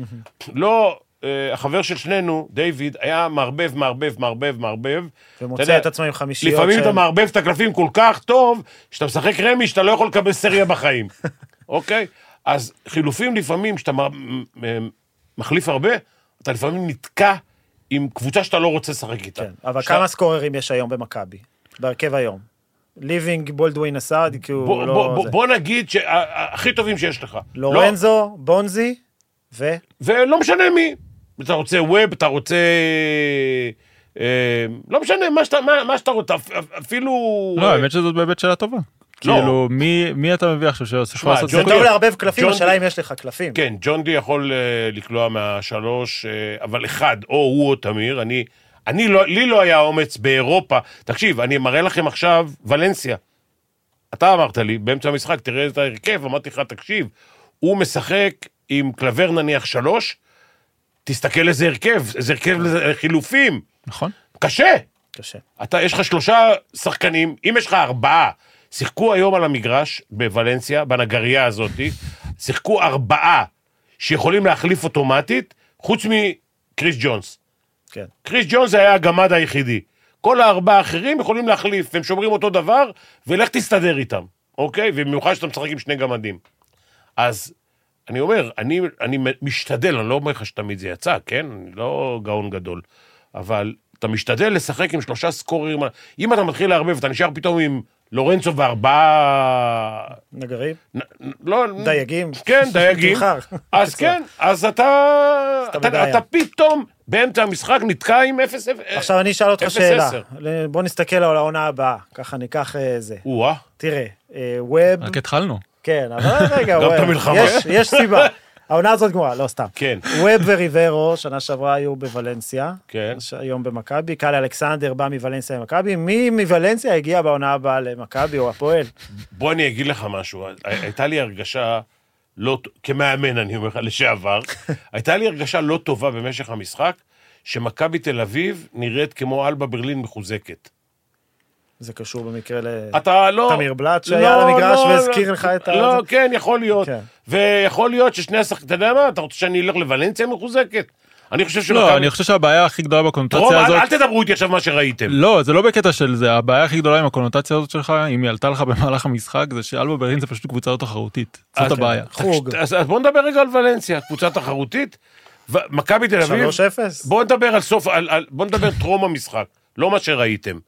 Speaker 2: לא, אה, החבר של שנינו, דיוויד, היה מערבב, מערבב, מערבב, מערבב. אתה
Speaker 3: ומוצא
Speaker 2: יודע,
Speaker 3: את עצמו עם חמישיות.
Speaker 2: לפעמים אתה
Speaker 3: שהן-
Speaker 2: מערבב את הקלפים כל כך טוב, שאתה משחק רמי, שאתה לא יכול לקבל סריה בחיים, אוקיי? אז חילופים לפעמים, כשאתה מ- מ- מחליף הרבה, אתה לפעמים נתקע עם קבוצה שאתה לא רוצה לשחק איתה.
Speaker 3: כן, אבל
Speaker 2: שאתה-
Speaker 3: כמה סקוררים יש היום במכבי? בהרכב היום. ליבינג, בולדווין אסעד, כי הוא
Speaker 2: בוא,
Speaker 3: לא...
Speaker 2: בוא, בוא,
Speaker 3: זה. לא,
Speaker 2: בוא נגיד שהכי טובים שיש לך.
Speaker 3: לורנזו, בונזי, ו...
Speaker 2: לא, ולא משנה מי. אתה רוצה ווב, אתה רוצה... אה, לא משנה, מה שאתה, מה, מה שאתה רוצה, אפ- אפ- אפילו...
Speaker 4: לא, האמת שזאת באמת שאלה טובה.
Speaker 2: לא.
Speaker 4: כאילו, מי- מי אתה מביא עכשיו שעושה
Speaker 2: שמע,
Speaker 4: לעשות
Speaker 2: ג'ון
Speaker 3: זה
Speaker 2: אוקיי.
Speaker 3: טוב לערבב קלפים,
Speaker 2: ג'ון-
Speaker 3: השאלה אם יש לך קלפים.
Speaker 2: כן, ג'ון די יכול אה, לקלוע מהשלוש, אה, אבל אחד, או הוא או תמיר, אני... אני לא, לי לא היה אומץ באירופה. תקשיב, אני מראה לכם עכשיו ולנסיה. אתה אמרת לי, באמצע המשחק, תראה את ההרכב, אמרתי לך, תקשיב, הוא משחק עם קלבר נניח שלוש, תסתכל איזה הרכב, איזה הרכב לחילופים.
Speaker 4: נכון.
Speaker 2: קשה.
Speaker 3: קשה.
Speaker 2: אתה, יש לך שלושה שחקנים, אם יש לך ארבעה, שיחקו היום על המגרש בוולנסיה, בנגרייה הזאת, שיחקו ארבעה שיכולים להחליף אוטומטית, חוץ מקריס ג'ונס.
Speaker 3: כן.
Speaker 2: קריס ג'ונס היה הגמד היחידי. כל הארבעה האחרים יכולים להחליף, הם שומרים אותו דבר, ולך תסתדר איתם, אוקיי? ובמיוחד שאתה משחק עם שני גמדים. אז אני אומר, אני, אני משתדל, אני לא אומר לך שתמיד זה יצא, כן? אני לא גאון גדול. אבל אתה משתדל לשחק עם שלושה סקוררים. אם אתה מתחיל לערבב, אתה נשאר פתאום עם לורנצו וארבעה...
Speaker 3: נגרים?
Speaker 2: נ- לא...
Speaker 3: דייגים?
Speaker 2: כן, דייגים.
Speaker 3: תבחר.
Speaker 2: אז כן, אז אתה...
Speaker 3: אתה
Speaker 2: אתה
Speaker 3: בבעיה.
Speaker 2: אתה פתאום באמצע המשחק נתקע עם 0-0.
Speaker 3: עכשיו אני אשאל אותך
Speaker 2: אפס
Speaker 3: שאלה.
Speaker 2: עשר.
Speaker 3: ל- בוא נסתכל על העונה הבאה, ככה ניקח אה, זה.
Speaker 2: או-אה.
Speaker 3: תראה, אה, ווב,
Speaker 4: רק התחלנו.
Speaker 3: כן, אבל רגע,
Speaker 2: גם
Speaker 3: ווב.
Speaker 2: את המלחמה.
Speaker 3: יש- יש סיבה. העונה הזאת גמורה, לא סתם.
Speaker 2: כן.
Speaker 3: ווב וריברו, שנה שעברה היו בוולנסיה.
Speaker 2: כן.
Speaker 3: ש- היום במכבי. קאלי אלכסנדר בא מוולנסיה למכבי. מי מוולנסיה הגיע בעונה הבאה למכבי או הפועל?
Speaker 2: בוא אני אגיד לך משהו. הי- הייתה לי הרגשה, לא, ט- כמאמן אני אומר לך, לשעבר, הייתה לי הרגשה לא טובה במשך המשחק, שמכבי תל אביב נראית כמו אלבה ברלין מחוזקת.
Speaker 3: זה קשור במקרה ל...
Speaker 2: אתה לא...
Speaker 3: תמיר בלאט שהיה על המגרש והזכיר לך את ה-
Speaker 2: ה... לא,
Speaker 3: זה.
Speaker 2: כן, יכול להיות.
Speaker 3: כן.
Speaker 2: ויכול להיות ששני השחקנים, אתה יודע מה, אתה רוצה שאני אלך לוולנסיה מחוזקת? אני חושב שמכבי...
Speaker 4: לא, אני חושב שהבעיה הכי גדולה
Speaker 2: טרום,
Speaker 4: בקונוטציה
Speaker 2: אל,
Speaker 4: הזאת...
Speaker 2: אל תדברו איתי עכשיו מה שראיתם.
Speaker 4: לא, זה לא בקטע של זה, הבעיה הכי גדולה עם הקונוטציה הזאת שלך, אם היא עלתה לך במהלך המשחק, זה שאלבה ברלין זה פשוט קבוצה לא תחרותית. זאת
Speaker 2: אוקיי.
Speaker 4: הבעיה.
Speaker 3: חוג.
Speaker 2: אז, אז בואו נדבר רגע על ולנסיה, קבוצה תחרותית. ו- מכבי תל אביב...
Speaker 3: 3-0?
Speaker 2: בואו נדבר על סוף, על, על, בואו נדבר טרום המשחק, לא מה שראיתם.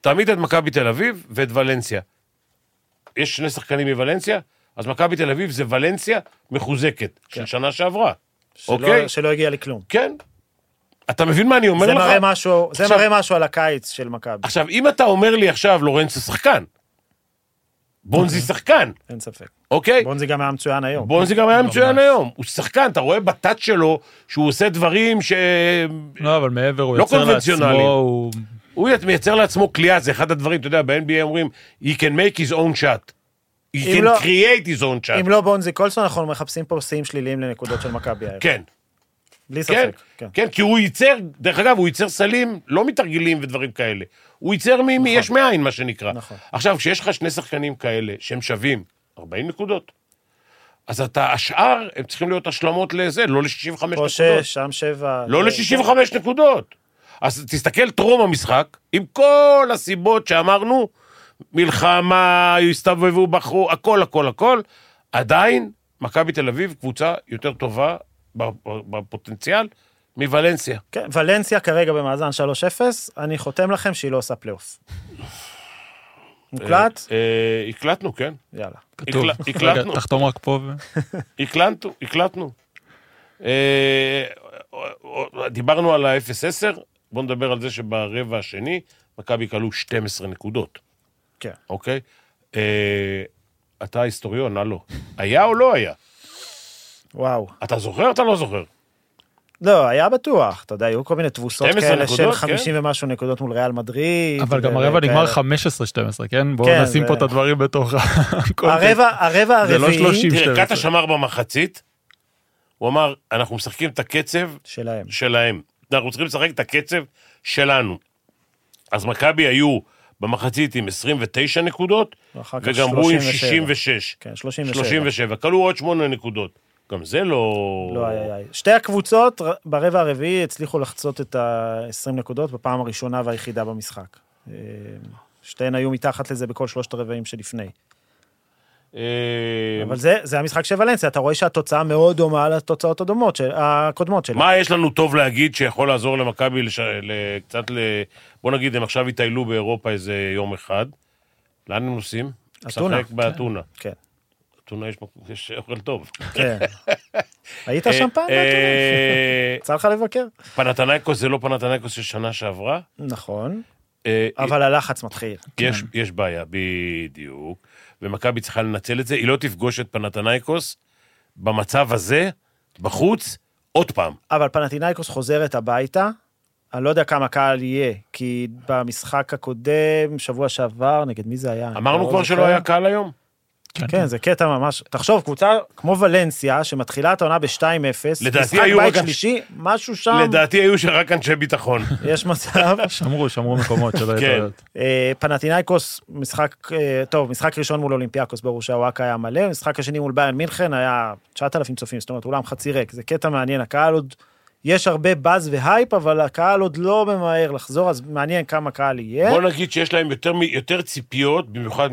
Speaker 2: תעמיד את מכבי תל אביב ואת ולנסיה. יש שני שחקנים מוולנסיה, אז מכבי תל אביב זה ולנסיה מחוזקת,
Speaker 4: כן.
Speaker 2: של שנה שעברה.
Speaker 3: שלא-
Speaker 2: אוקיי.
Speaker 3: שלא הגיע לכלום.
Speaker 2: כן. אתה מבין מה אני אומר
Speaker 3: זה
Speaker 2: לך?
Speaker 3: מראה משהו, זה
Speaker 2: עכשיו-
Speaker 3: מראה משהו על הקיץ של מכבי,
Speaker 2: עכשיו, אם אתה אומר לי עכשיו, לורנצו שחקן, בונזי שחקן,
Speaker 3: אין ספק.
Speaker 2: אוקיי?
Speaker 3: אוקיי. בונזי גם היה מצוין היום.
Speaker 2: בונזי גם היה מצוין היום. הוא שחקן, אתה רואה בתת שלו שהוא עושה דברים ש...
Speaker 4: לא, אבל מעבר, הוא
Speaker 2: לא
Speaker 4: יוצר לעצמו,
Speaker 2: קונבנציונלי.
Speaker 4: הוא...
Speaker 2: הוא מייצר לעצמו קליעה, זה אחד הדברים, אתה יודע, ב-NBA אומרים, he can make his own shot. he
Speaker 3: אם
Speaker 2: can
Speaker 3: לא-
Speaker 2: create his own shot.
Speaker 3: אם לא בונזי קולסון, אנחנו מחפשים פה שיאים שליליים לנקודות של מכבי היום.
Speaker 2: כן.
Speaker 3: בלי
Speaker 2: כן,
Speaker 3: ספק, כן.
Speaker 2: כן, כי הוא ייצר, דרך אגב, הוא ייצר סלים לא מתרגילים ודברים כאלה. הוא ייצר מ- מיש מאין, מה שנקרא.
Speaker 3: נכון.
Speaker 2: עכשיו, כשיש לך שני שחקנים כאלה שהם שווים 40 נקודות, אז אתה, השאר, הם צריכים להיות השלמות לזה, לא ל-65
Speaker 3: פה
Speaker 2: נקודות.
Speaker 3: שש, שם שבע. אה,
Speaker 2: לא ל-65 נקודות. אז תסתכל טרום המשחק, עם כל הסיבות שאמרנו, מלחמה, הסתובבו, בחרו, הכל, הכל, הכל, עדיין מכבי תל אביב קבוצה יותר טובה בפוטנציאל מוולנסיה.
Speaker 3: כן, ולנסיה כרגע במאזן 3-0, אני חותם לכם שהיא לא עושה פלייאוף. מוקלט?
Speaker 2: אה, אה, הקלטנו, כן.
Speaker 3: יאללה.
Speaker 4: כתוב.
Speaker 2: הקל-
Speaker 4: רגע,
Speaker 2: הקלטנו.
Speaker 4: תחתום רק פה. ו-
Speaker 2: הקלטנו, הקלטנו. אה, דיברנו על ה-0-10, בואו נדבר על זה שברבע השני, מכבי כלו 12 נקודות.
Speaker 3: כן.
Speaker 2: אוקיי? אה, אתה היסטוריון, הלו. היה או לא היה?
Speaker 3: וואו.
Speaker 2: אתה זוכר או אתה לא זוכר?
Speaker 3: לא, היה בטוח, אתה יודע, היו כל מיני תבוסות
Speaker 2: 12
Speaker 3: כאלה של
Speaker 2: נקודות, כן.
Speaker 3: 50 ומשהו נקודות מול ריאל מדריד.
Speaker 4: אבל גם
Speaker 3: ו-
Speaker 4: הרבע
Speaker 3: וכאלה.
Speaker 4: נגמר 15-12, כן?
Speaker 3: כן,
Speaker 4: בואו נשים
Speaker 3: זה-
Speaker 4: פה את הדברים בתוך הקונטקסט.
Speaker 3: הרבע, הרבע
Speaker 4: זה לא
Speaker 3: הרביעי
Speaker 4: 30.
Speaker 2: תראה,
Speaker 4: 12.
Speaker 2: קאטה שמר במחצית, הוא אמר, אנחנו משחקים את הקצב
Speaker 3: שלהם.
Speaker 2: שלהם. אנחנו צריכים לשחק את הקצב שלנו. אז מכבי היו במחצית עם 29 נקודות,
Speaker 3: ואחר כך
Speaker 2: וגמרו עם
Speaker 3: 37.
Speaker 2: 66.
Speaker 3: כן, 37.
Speaker 2: 37. כלו עוד 8 נקודות. גם זה לא...
Speaker 3: לא, איי, איי, איי. שתי הקבוצות ר- ברבע הרביעי הצליחו לחצות את ה-20 נקודות בפעם הראשונה והיחידה במשחק. אה, שתיהן היו מתחת לזה בכל שלושת הרבעים שלפני.
Speaker 2: אה,
Speaker 3: אבל זה, זה המשחק של ולנסיה, אתה רואה שהתוצאה מאוד דומה לתוצאות הדומות, של, הקודמות שלה.
Speaker 2: מה יש לנו טוב להגיד שיכול לעזור למכבי לש... ל... קצת ל... בוא נגיד, הם עכשיו יטיילו באירופה איזה יום אחד. לאן הם נוסעים?
Speaker 3: אתונה,
Speaker 2: לשחק באתונה.
Speaker 3: כן,
Speaker 2: אתונה יש, מק- יש אוכל טוב.
Speaker 3: כן. היית שם פעם?
Speaker 2: אה,
Speaker 3: נתן?
Speaker 2: אה,
Speaker 3: יצא לך לבקר?
Speaker 2: פנתנייקוס זה לא פנתנייקוס של שנה שעברה.
Speaker 3: נכון,
Speaker 2: אה,
Speaker 3: אבל כן. הלחץ מתחיל.
Speaker 2: יש, יש בעיה, בדיוק. ומכבי צריכה לנצל את זה. היא לא תפגוש את פנתנייקוס במצב הזה, בחוץ, עוד פעם.
Speaker 3: אבל פנטינאיקוס חוזרת הביתה, אני לא יודע כמה קהל יהיה, כי במשחק הקודם, שבוע שעבר, נגד מי זה היה? אני
Speaker 2: אמרנו
Speaker 3: לא
Speaker 2: כבר
Speaker 3: זוכר.
Speaker 2: שלא היה קהל היום?
Speaker 3: כן, זה קטע ממש... תחשוב, קבוצה כמו ולנסיה, שמתחילה את העונה ב-2-0,
Speaker 2: לדעתי
Speaker 3: משחק
Speaker 2: היו
Speaker 3: בית
Speaker 2: רק-
Speaker 3: שלישי, משהו שם,
Speaker 2: לדעתי היו שרק אנשי ביטחון.
Speaker 3: יש מצב.
Speaker 4: שמרו, שמרו מקומות שלא
Speaker 2: כן.
Speaker 4: יהיו טעויות.
Speaker 3: אה, פנטינאיקוס, משחק, אה, טוב, משחק ראשון מול אולימפיאקוס, ברור שהוואקה היה מלא, משחק השני מול ביין מינכן היה 9,000 צופים, זאת אומרת, אולם חצי ריק, זה קטע מעניין, הקהל עוד, יש הרבה באז והייפ, אבל הקהל עוד לא ממהר לחזור, אז מעניין כמה קהל יהיה.
Speaker 2: בוא נגיד שיש להם יותר, מ- יותר ציפיות, במיוחד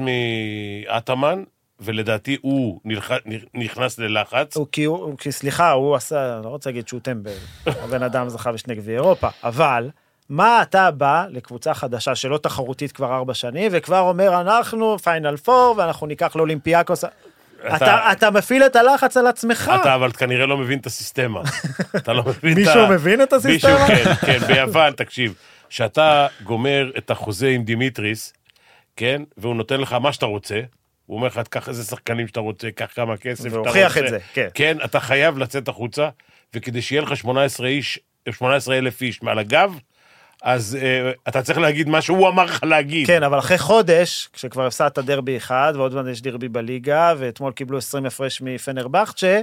Speaker 2: מעטמן, ולדעתי הוא נלח, נכנס ללחץ.
Speaker 3: הוא, כי, הוא, כי סליחה, הוא עשה, אני לא רוצה להגיד שהוא טמבל, הבן אדם זכה בשני גביעי אירופה, אבל מה אתה בא לקבוצה חדשה שלא תחרותית כבר ארבע שנים, וכבר אומר, אנחנו פיינל פור, ואנחנו ניקח לאולימפיאקוס... אתה, אתה, מפעיל את הלחץ על עצמך.
Speaker 2: אתה אבל כנראה לא מבין את הסיסטמה. אתה לא מבין את ה...
Speaker 3: מישהו מבין את
Speaker 2: מישהו,
Speaker 3: הסיסטמה?
Speaker 2: כן, כן, ביוון, תקשיב. כשאתה גומר את החוזה עם דימיטריס, כן, והוא נותן לך מה שאתה רוצה, הוא אומר לך, קח איזה שחקנים שאתה רוצה, קח כמה כסף שאתה רוצה.
Speaker 3: והוכיח את זה, כן.
Speaker 2: כן, אתה חייב לצאת החוצה, וכדי שיהיה לך 18 איש, 18 אלף איש מעל הגב, אז אה, אתה צריך להגיד מה שהוא אמר לך להגיד.
Speaker 3: כן, אבל אחרי חודש, כשכבר הפסדת דרבי אחד, ועוד מעט יש דרבי בליגה, ואתמול קיבלו 20 הפרש מפנרבכצ'ה,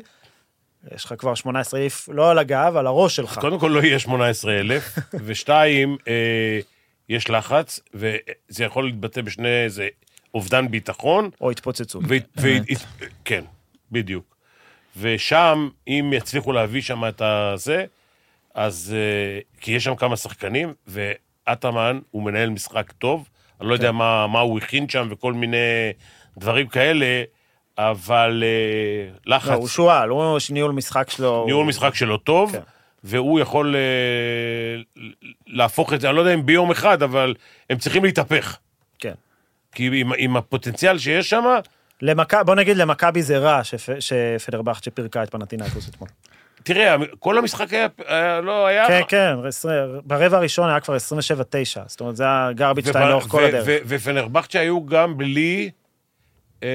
Speaker 3: יש לך כבר 18 איף, לא על הגב, על הראש שלך.
Speaker 2: קודם כל לא יהיה 18,000, ושתיים, אה, יש לחץ, וזה יכול להתבטא בשני, זה אובדן ביטחון,
Speaker 3: או התפוצצות.
Speaker 2: ו- ו- כן, בדיוק. ושם, אם יצליחו להביא שם את הזה, אז... אה, כי יש שם כמה שחקנים, ועטאמן הוא מנהל משחק טוב, אני לא
Speaker 3: כן.
Speaker 2: יודע מה, מה הוא הכין שם וכל מיני דברים כאלה, אבל אה,
Speaker 3: לא, הוא
Speaker 2: לחץ,
Speaker 3: שועל, הוא ניהול משחק שלו.
Speaker 2: ניהול משחק שלו טוב,
Speaker 3: כן.
Speaker 2: והוא יכול אה, להפוך את זה, אני לא יודע אם ביום אחד, אבל הם צריכים להתהפך.
Speaker 3: כן.
Speaker 2: כי עם, עם הפוטנציאל שיש שם,
Speaker 3: למכ... בוא נגיד למכבי זה רע שפ... שפדרבכצ'ה פירקה את פנטינקוס אתמול.
Speaker 2: תראה, כל המשחק היה, היה לא היה...
Speaker 3: כן, כן, עשרה- ברבע הראשון היה כבר 27-9, זאת אומרת, זה היה גרביץ' 2 לאורך כל הדרך.
Speaker 2: ו- ו- ופנרבכצ'ה היו גם בלי, אה,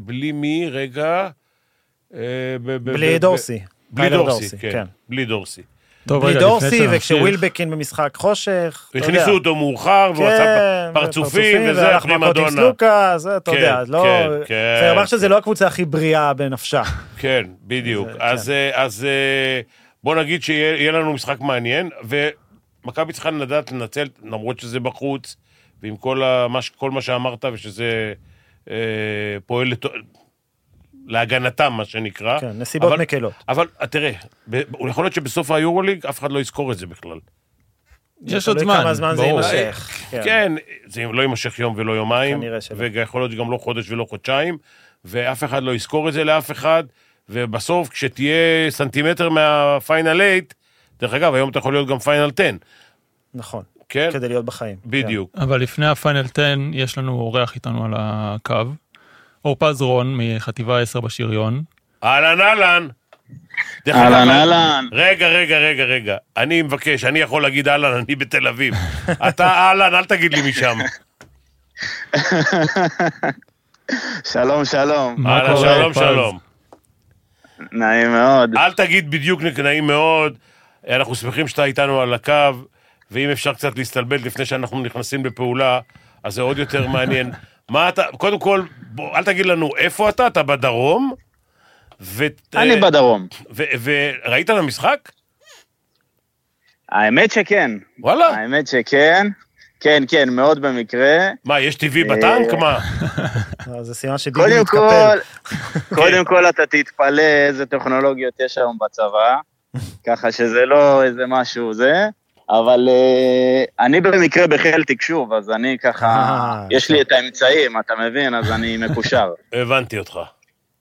Speaker 2: בלי מי, רגע, אה, ב- ב-
Speaker 3: בלי
Speaker 2: ב-
Speaker 3: דורסי.
Speaker 2: ב- בלי
Speaker 3: טיילר
Speaker 2: דורסי, כן, בלי דורסי.
Speaker 4: טוב,
Speaker 3: בלי
Speaker 4: רגע, לפני
Speaker 3: דורסי,
Speaker 4: שנמשיך-
Speaker 3: וכשווילבקין במשחק חושך, אתה יודע. כן,
Speaker 2: הכניסו אותו מאוחר, והוא עשה פ- פרצופים, וזה
Speaker 3: והלך מכות עם
Speaker 2: הפרימדונה.
Speaker 3: סלוקה, זה אתה
Speaker 2: כן,
Speaker 3: יודע, אז לא...
Speaker 2: כן, כן.
Speaker 3: פנרבכצ'ה זה לא הקבוצה הכי בריאה בנפשה.
Speaker 2: כן, בדיוק.
Speaker 3: זה-
Speaker 2: אז, אה, אז אה, בוא נגיד שיהיה יהיה לנו משחק מעניין, ומכבי צריכה לדעת לנצל, למרות שזה בחוץ, ועם כל, ה, מה, ש- כל מה שאמרת, ושזה אה, פועל לת... להגנתם, מה שנקרא.
Speaker 3: כן, נסיבות
Speaker 2: אבל-
Speaker 3: מקלות.
Speaker 2: אבל אה, תראה, ב- יכול להיות שבסוף היורוליג אף אחד לא יזכור את זה בכלל.
Speaker 4: יש עוד
Speaker 3: תלוי לא כמה
Speaker 4: זמן,
Speaker 3: זמן זה
Speaker 4: ברור.
Speaker 3: יימשך. כן.
Speaker 2: כן, זה לא יימשך יום ולא יומיים,
Speaker 3: כנראה שלא.
Speaker 2: ויכול להיות שגם לא חודש ולא חודשיים, ואף אחד לא יזכור את זה לאף אחד, ובסוף כשתהיה סנטימטר מהפיינל 8, דרך אגב, היום אתה יכול להיות גם פיינל 10,
Speaker 3: נכון,
Speaker 2: כן?
Speaker 3: כדי להיות בחיים.
Speaker 2: בדיוק.
Speaker 4: אבל לפני הפיינל 10 יש לנו אורח איתנו על הקו. אורפז רון מחטיבה 10 בשריון.
Speaker 2: אהלן אהלן. דרך אגב,
Speaker 5: אהלן, אהלן.
Speaker 2: רגע, רגע, רגע, רגע. אני מבקש, אני יכול להגיד אהלן, אני בתל אביב. אתה אהלן, אל תגיד לי משם.
Speaker 5: שלום, שלום.
Speaker 4: מה
Speaker 2: אהלן,
Speaker 4: קורה,
Speaker 2: שלום,
Speaker 4: אורפז?
Speaker 2: שלום.
Speaker 5: נעים מאוד.
Speaker 2: אל תגיד בדיוק נעים מאוד, אנחנו שמחים שאתה איתנו על הקו, ואם אפשר קצת להסתלבט לפני שאנחנו נכנסים לפעולה, אז זה עוד יותר מעניין. מה אתה, קודם כל, בוא, אל תגיד לנו איפה אתה, אתה בדרום, ו...
Speaker 5: אני בדרום.
Speaker 2: ו- וראית את המשחק?
Speaker 5: האמת שכן.
Speaker 2: וואלה.
Speaker 5: האמת שכן. כן, כן, מאוד במקרה.
Speaker 2: מה, יש טבעי בטנק? מה?
Speaker 3: אה, זה סימן שביבי
Speaker 5: קודם
Speaker 3: מתקפל.
Speaker 5: כל, קודם כל אתה תתפלא איזה טכנולוגיות יש היום בצבא, ככה שזה לא איזה משהו זה, אבל אה, אני במקרה בחיל תקשוב, אז אני ככה,
Speaker 3: אה,
Speaker 5: יש לי את האמצעים, אתה מבין? אז אני מקושר,
Speaker 2: הבנתי אותך.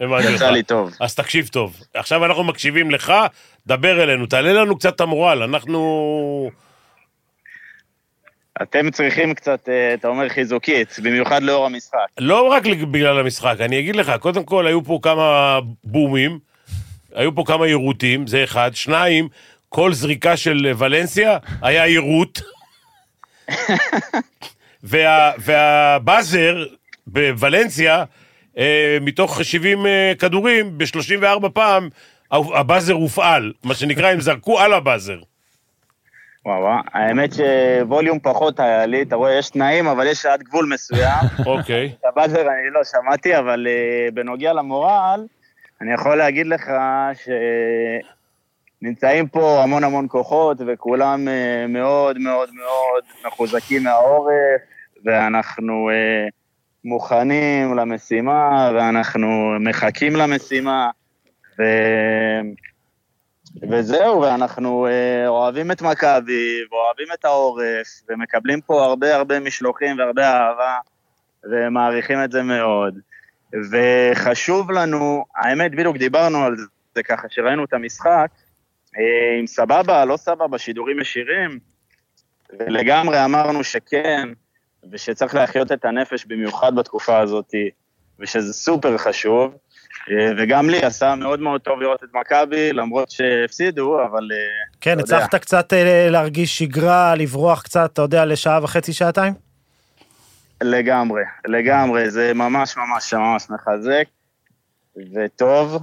Speaker 2: הבנתי אותך.
Speaker 5: יצא לי טוב.
Speaker 2: אז תקשיב טוב. עכשיו אנחנו מקשיבים לך, דבר אלינו, תעלה לנו קצת את המורל, אנחנו...
Speaker 5: אתם צריכים קצת, אה, אתה אומר חיזוקית, במיוחד לאור המשחק.
Speaker 2: לא רק בגלל המשחק, אני אגיד לך, קודם כל, היו פה כמה בומים, היו פה כמה יירוטים, זה אחד. שניים, כל זריקה של ולנסיה היה יירוט. וה, והבאזר בוולנסיה, אה, מתוך 70 אה, כדורים, ב-34 פעם, ה- הבאזר הופעל. מה שנקרא, הם זרקו על הבאזר.
Speaker 5: וואו, וואו, האמת שווליום פחות היה לי, אתה רואה, יש תנאים, אבל יש עד גבול מסוים.
Speaker 2: אוקיי.
Speaker 5: את הבאזר אני לא שמעתי, אבל אה, בנוגע למורל, אני יכול להגיד לך שנמצאים פה המון המון כוחות, וכולם אה, מאוד מאוד מאוד מחוזקים מהעורף, ואנחנו אה, מוכנים למשימה, ואנחנו מחכים למשימה, ו... וזהו, ואנחנו אה, אוהבים את מכבי, ואוהבים את העורף, ומקבלים פה הרבה הרבה משלוחים והרבה אהבה. ומעריכים את זה מאוד. וחשוב לנו, האמת, בדיוק דיברנו על זה ככה, שראינו את המשחק, אה, אם סבבה, לא סבבה, שידורים ישירים, ולגמרי אמרנו שכן, ושצריך להחיות את הנפש במיוחד בתקופה הזאת, ושזה סופר חשוב, אה, וגם לי עשה מאוד מאוד טוב לראות את מכבי, למרות שהפסידו, אבל... אה,
Speaker 3: כן,
Speaker 5: אתה יודע.
Speaker 3: הצלחת קצת אה, להרגיש שגרה, לברוח קצת, אתה יודע, לשעה וחצי, שעתיים?
Speaker 5: לגמרי, לגמרי, זה ממש ממש ממש מחזק, וטוב,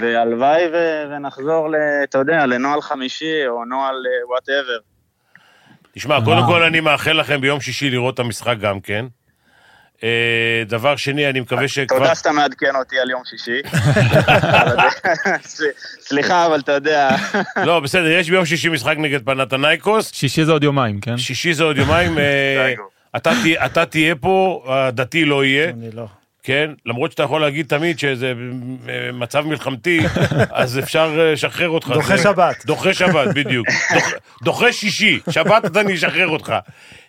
Speaker 5: והלוואי ו- ונחזור, ל- אתה יודע, לנוהל חמישי או נוהל אה, וואטאבר.
Speaker 2: כן, תשמע, קודם כל אני מאחל לכם ביום שישי לראות את המשחק גם כן. אה, דבר שני, אני מקווה שכבר...
Speaker 5: תודה שאתה מעדכן אותי על יום שישי. סל- סליחה, אבל אתה יודע,
Speaker 2: לא, בסדר, יש ביום שישי משחק נגד פנתנייקוס,
Speaker 4: שישי זה עוד יומיים, כן?
Speaker 2: שישי זה עוד יומיים, אה, אתה תה- אתה תהיה פה, הדתי לא יהיה,
Speaker 3: אני לא.
Speaker 2: כן? למרות שאתה יכול להגיד תמיד שזה אה, מצב מלחמתי, אז אפשר אה, לשחרר אותך.
Speaker 3: דוחה
Speaker 2: זה-
Speaker 3: שבת.
Speaker 2: דוחה שבת, בדיוק. דוח- דוחה שישי, שבת אז אני אשחרר אותך.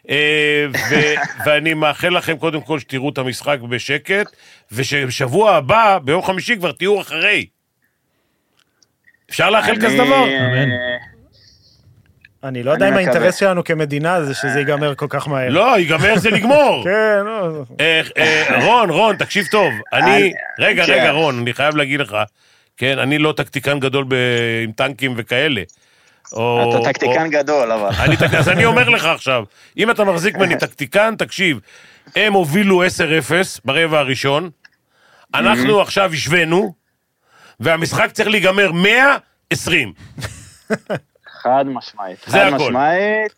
Speaker 2: אה, ו- ואני מאחל לכם קודם כל שתראו את המשחק בשקט, ושבשבוע הבא, ביום חמישי כבר תהיו אחרי. אפשר לאחל כזה דבר?
Speaker 5: אני, אה,
Speaker 4: אמן.
Speaker 3: אני לא יודע
Speaker 5: אני
Speaker 3: אם
Speaker 5: מקווה.
Speaker 3: האינטרס שלנו כמדינה זה שזה ייגמר כל כך מהר.
Speaker 2: לא, ייגמר זה נגמור.
Speaker 3: כן, לא.
Speaker 2: אה, אה, רון, רון, תקשיב טוב. אני...
Speaker 5: אני-
Speaker 2: רגע,
Speaker 5: כן.
Speaker 2: רגע, רון, אני חייב להגיד לך, כן, אני לא טקטיקן גדול ב- עם טנקים וכאלה. או-
Speaker 5: אתה טקטיקן גדול, אבל.
Speaker 2: או- אני טק- אז אני אומר לך עכשיו, אם אתה מחזיק ממני טקטיקן, תקשיב, הם הובילו 10-0 ברבע הראשון, אנחנו עכשיו השווינו, והמשחק צריך להיגמר 120.
Speaker 5: חד משמעית.
Speaker 2: זה
Speaker 5: חד
Speaker 2: הכל.
Speaker 5: משמעית.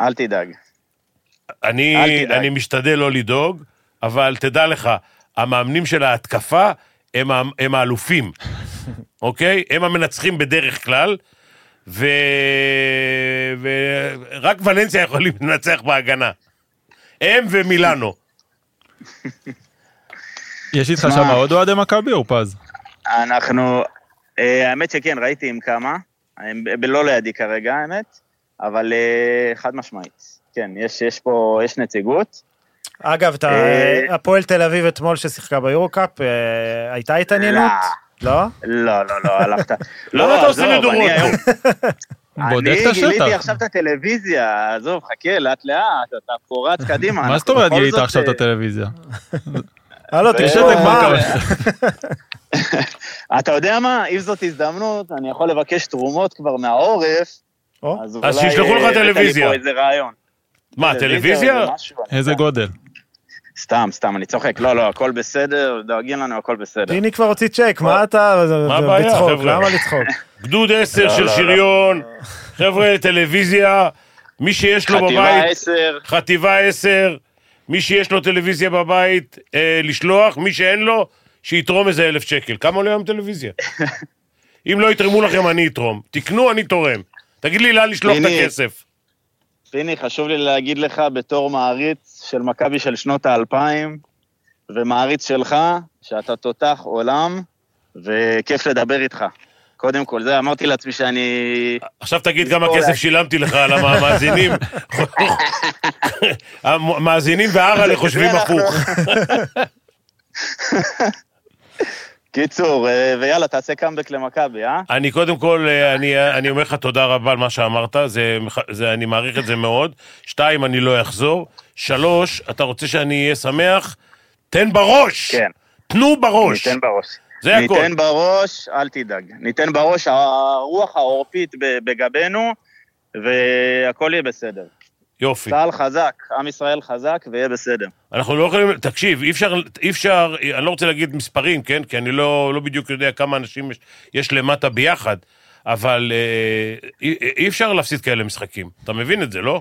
Speaker 5: אל תדאג. אל
Speaker 2: אני,
Speaker 5: תדאג.
Speaker 2: אני משתדל לא לדאוג, אבל תדע לך, המאמנים של ההתקפה הם, ה- הם האלופים. אוקיי? הם המנצחים בדרך כלל, ו... ורק ולנסיה יכולים לנצח בהגנה. הם ומילאנו.
Speaker 4: יש איתך
Speaker 5: מה?
Speaker 4: שם עוד אוהדי מכבי או פז?
Speaker 5: אנחנו, אה, האמת שכן, ראיתי עם כמה, הם ב- לא לידי כרגע, האמת, אבל אה, חד משמעית. כן, יש, יש פה, יש נציגות.
Speaker 3: אגב, אתה-
Speaker 5: אה,
Speaker 3: הפועל תל אביב אתמול ששיחקה ביורוקאפ, אה, הייתה התעניינות? לא?
Speaker 5: לא, לא, לא, הלכת.
Speaker 2: למה אתה עושה לי
Speaker 5: עזוב, אני
Speaker 2: דורות?
Speaker 5: היום-
Speaker 4: בודק את
Speaker 5: אני גיליתי
Speaker 4: השטח.
Speaker 5: עכשיו את הטלוויזיה, עזוב, חכה, לאט-לאט, אתה פה רץ קדימה.
Speaker 4: מה זאת
Speaker 5: אנחנו
Speaker 4: אומרת
Speaker 5: אה, בכל
Speaker 4: גילית
Speaker 5: זאת,
Speaker 4: עכשיו את
Speaker 5: אה,
Speaker 4: הטלוויזיה?
Speaker 3: הלו,
Speaker 5: יש
Speaker 3: תשמע,
Speaker 5: את זה כבר
Speaker 3: מה?
Speaker 5: אתה יודע מה, אם זאת הזדמנות, אני יכול לבקש תרומות כבר מהעורף,
Speaker 3: או,
Speaker 5: אז
Speaker 2: אז
Speaker 5: אולי,
Speaker 2: שישלחו
Speaker 5: אה,
Speaker 2: לך
Speaker 5: הבאת לי
Speaker 2: טלוויזיה.
Speaker 5: פה איזה רעיון.
Speaker 2: מה, טלוויזיה?
Speaker 5: או משהו, אני
Speaker 4: איזה
Speaker 5: יודע.
Speaker 4: גודל?
Speaker 5: סתם, סתם, אני צוחק. לא, לא, הכל בסדר, דואגים לנו, הכל בסדר.
Speaker 3: פיני כבר הוציא צ'ק, מה אתה... זה-
Speaker 2: מה
Speaker 3: זה
Speaker 2: הבעיה,
Speaker 3: בצחוק,
Speaker 2: חבר'ה?
Speaker 3: למה לצחוק?
Speaker 2: גדוד 10
Speaker 5: לא,
Speaker 2: של
Speaker 5: לא, לא.
Speaker 2: שריון, חבר'ה, טלוויזיה, מי שיש לו
Speaker 5: חטיבה
Speaker 2: כאילו בבית,
Speaker 5: 10,
Speaker 2: חטיבה 10, מי שיש לו טלוויזיה בבית, אה, לשלוח, מי שאין לו, שיתרום איזה אלף שקל. כמה עולה היום טלוויזיה? אם לא יתרמו לכם, אני אתרום. תקנו, אני תורם. תגיד לי לאן לשלוח את
Speaker 5: פיני.
Speaker 2: הכסף.
Speaker 5: פיני, חשוב לי להגיד לך, בתור מעריץ של מכבי של שנות האלפיים, ומעריץ שלך, שאתה תותח עולם, וכיף לדבר איתך. קודם כל, זה אמרתי לעצמי שאני...
Speaker 2: עכשיו תגיד כמה
Speaker 5: אולי.
Speaker 2: כסף שילמתי לך על המאזינים. המאזינים והרלה חושבים
Speaker 5: זה אנחנו.
Speaker 2: הפוך.
Speaker 5: קיצור, אה, ויאללה, תעשה קאמבק למכבי, אה?
Speaker 2: אני קודם כל, אה, אני, אני אומר לך תודה רבה על מה שאמרת, זה, זה, אני מעריך את זה מאוד. שתיים, אני לא אחזור. שלוש, אתה רוצה שאני אהיה שמח? תן בראש!
Speaker 5: כן.
Speaker 2: תנו בראש!
Speaker 5: ניתן בראש.
Speaker 2: זה הכל.
Speaker 5: ניתן בראש, אל תדאג. ניתן בראש, הרוח העורפית ב- בגבנו, והכל יהיה בסדר.
Speaker 2: יופי.
Speaker 5: צה"ל חזק, עם ישראל חזק, ויהיה בסדר.
Speaker 2: אנחנו לא יכולים, תקשיב, אי אפשר, אי אפשר, אני לא רוצה להגיד מספרים, כן? כי אני לא, לא בדיוק יודע כמה אנשים יש, יש למטה ביחד, אבל אה, אי, אי אפשר להפסיד כאלה משחקים. אתה מבין את זה, לא?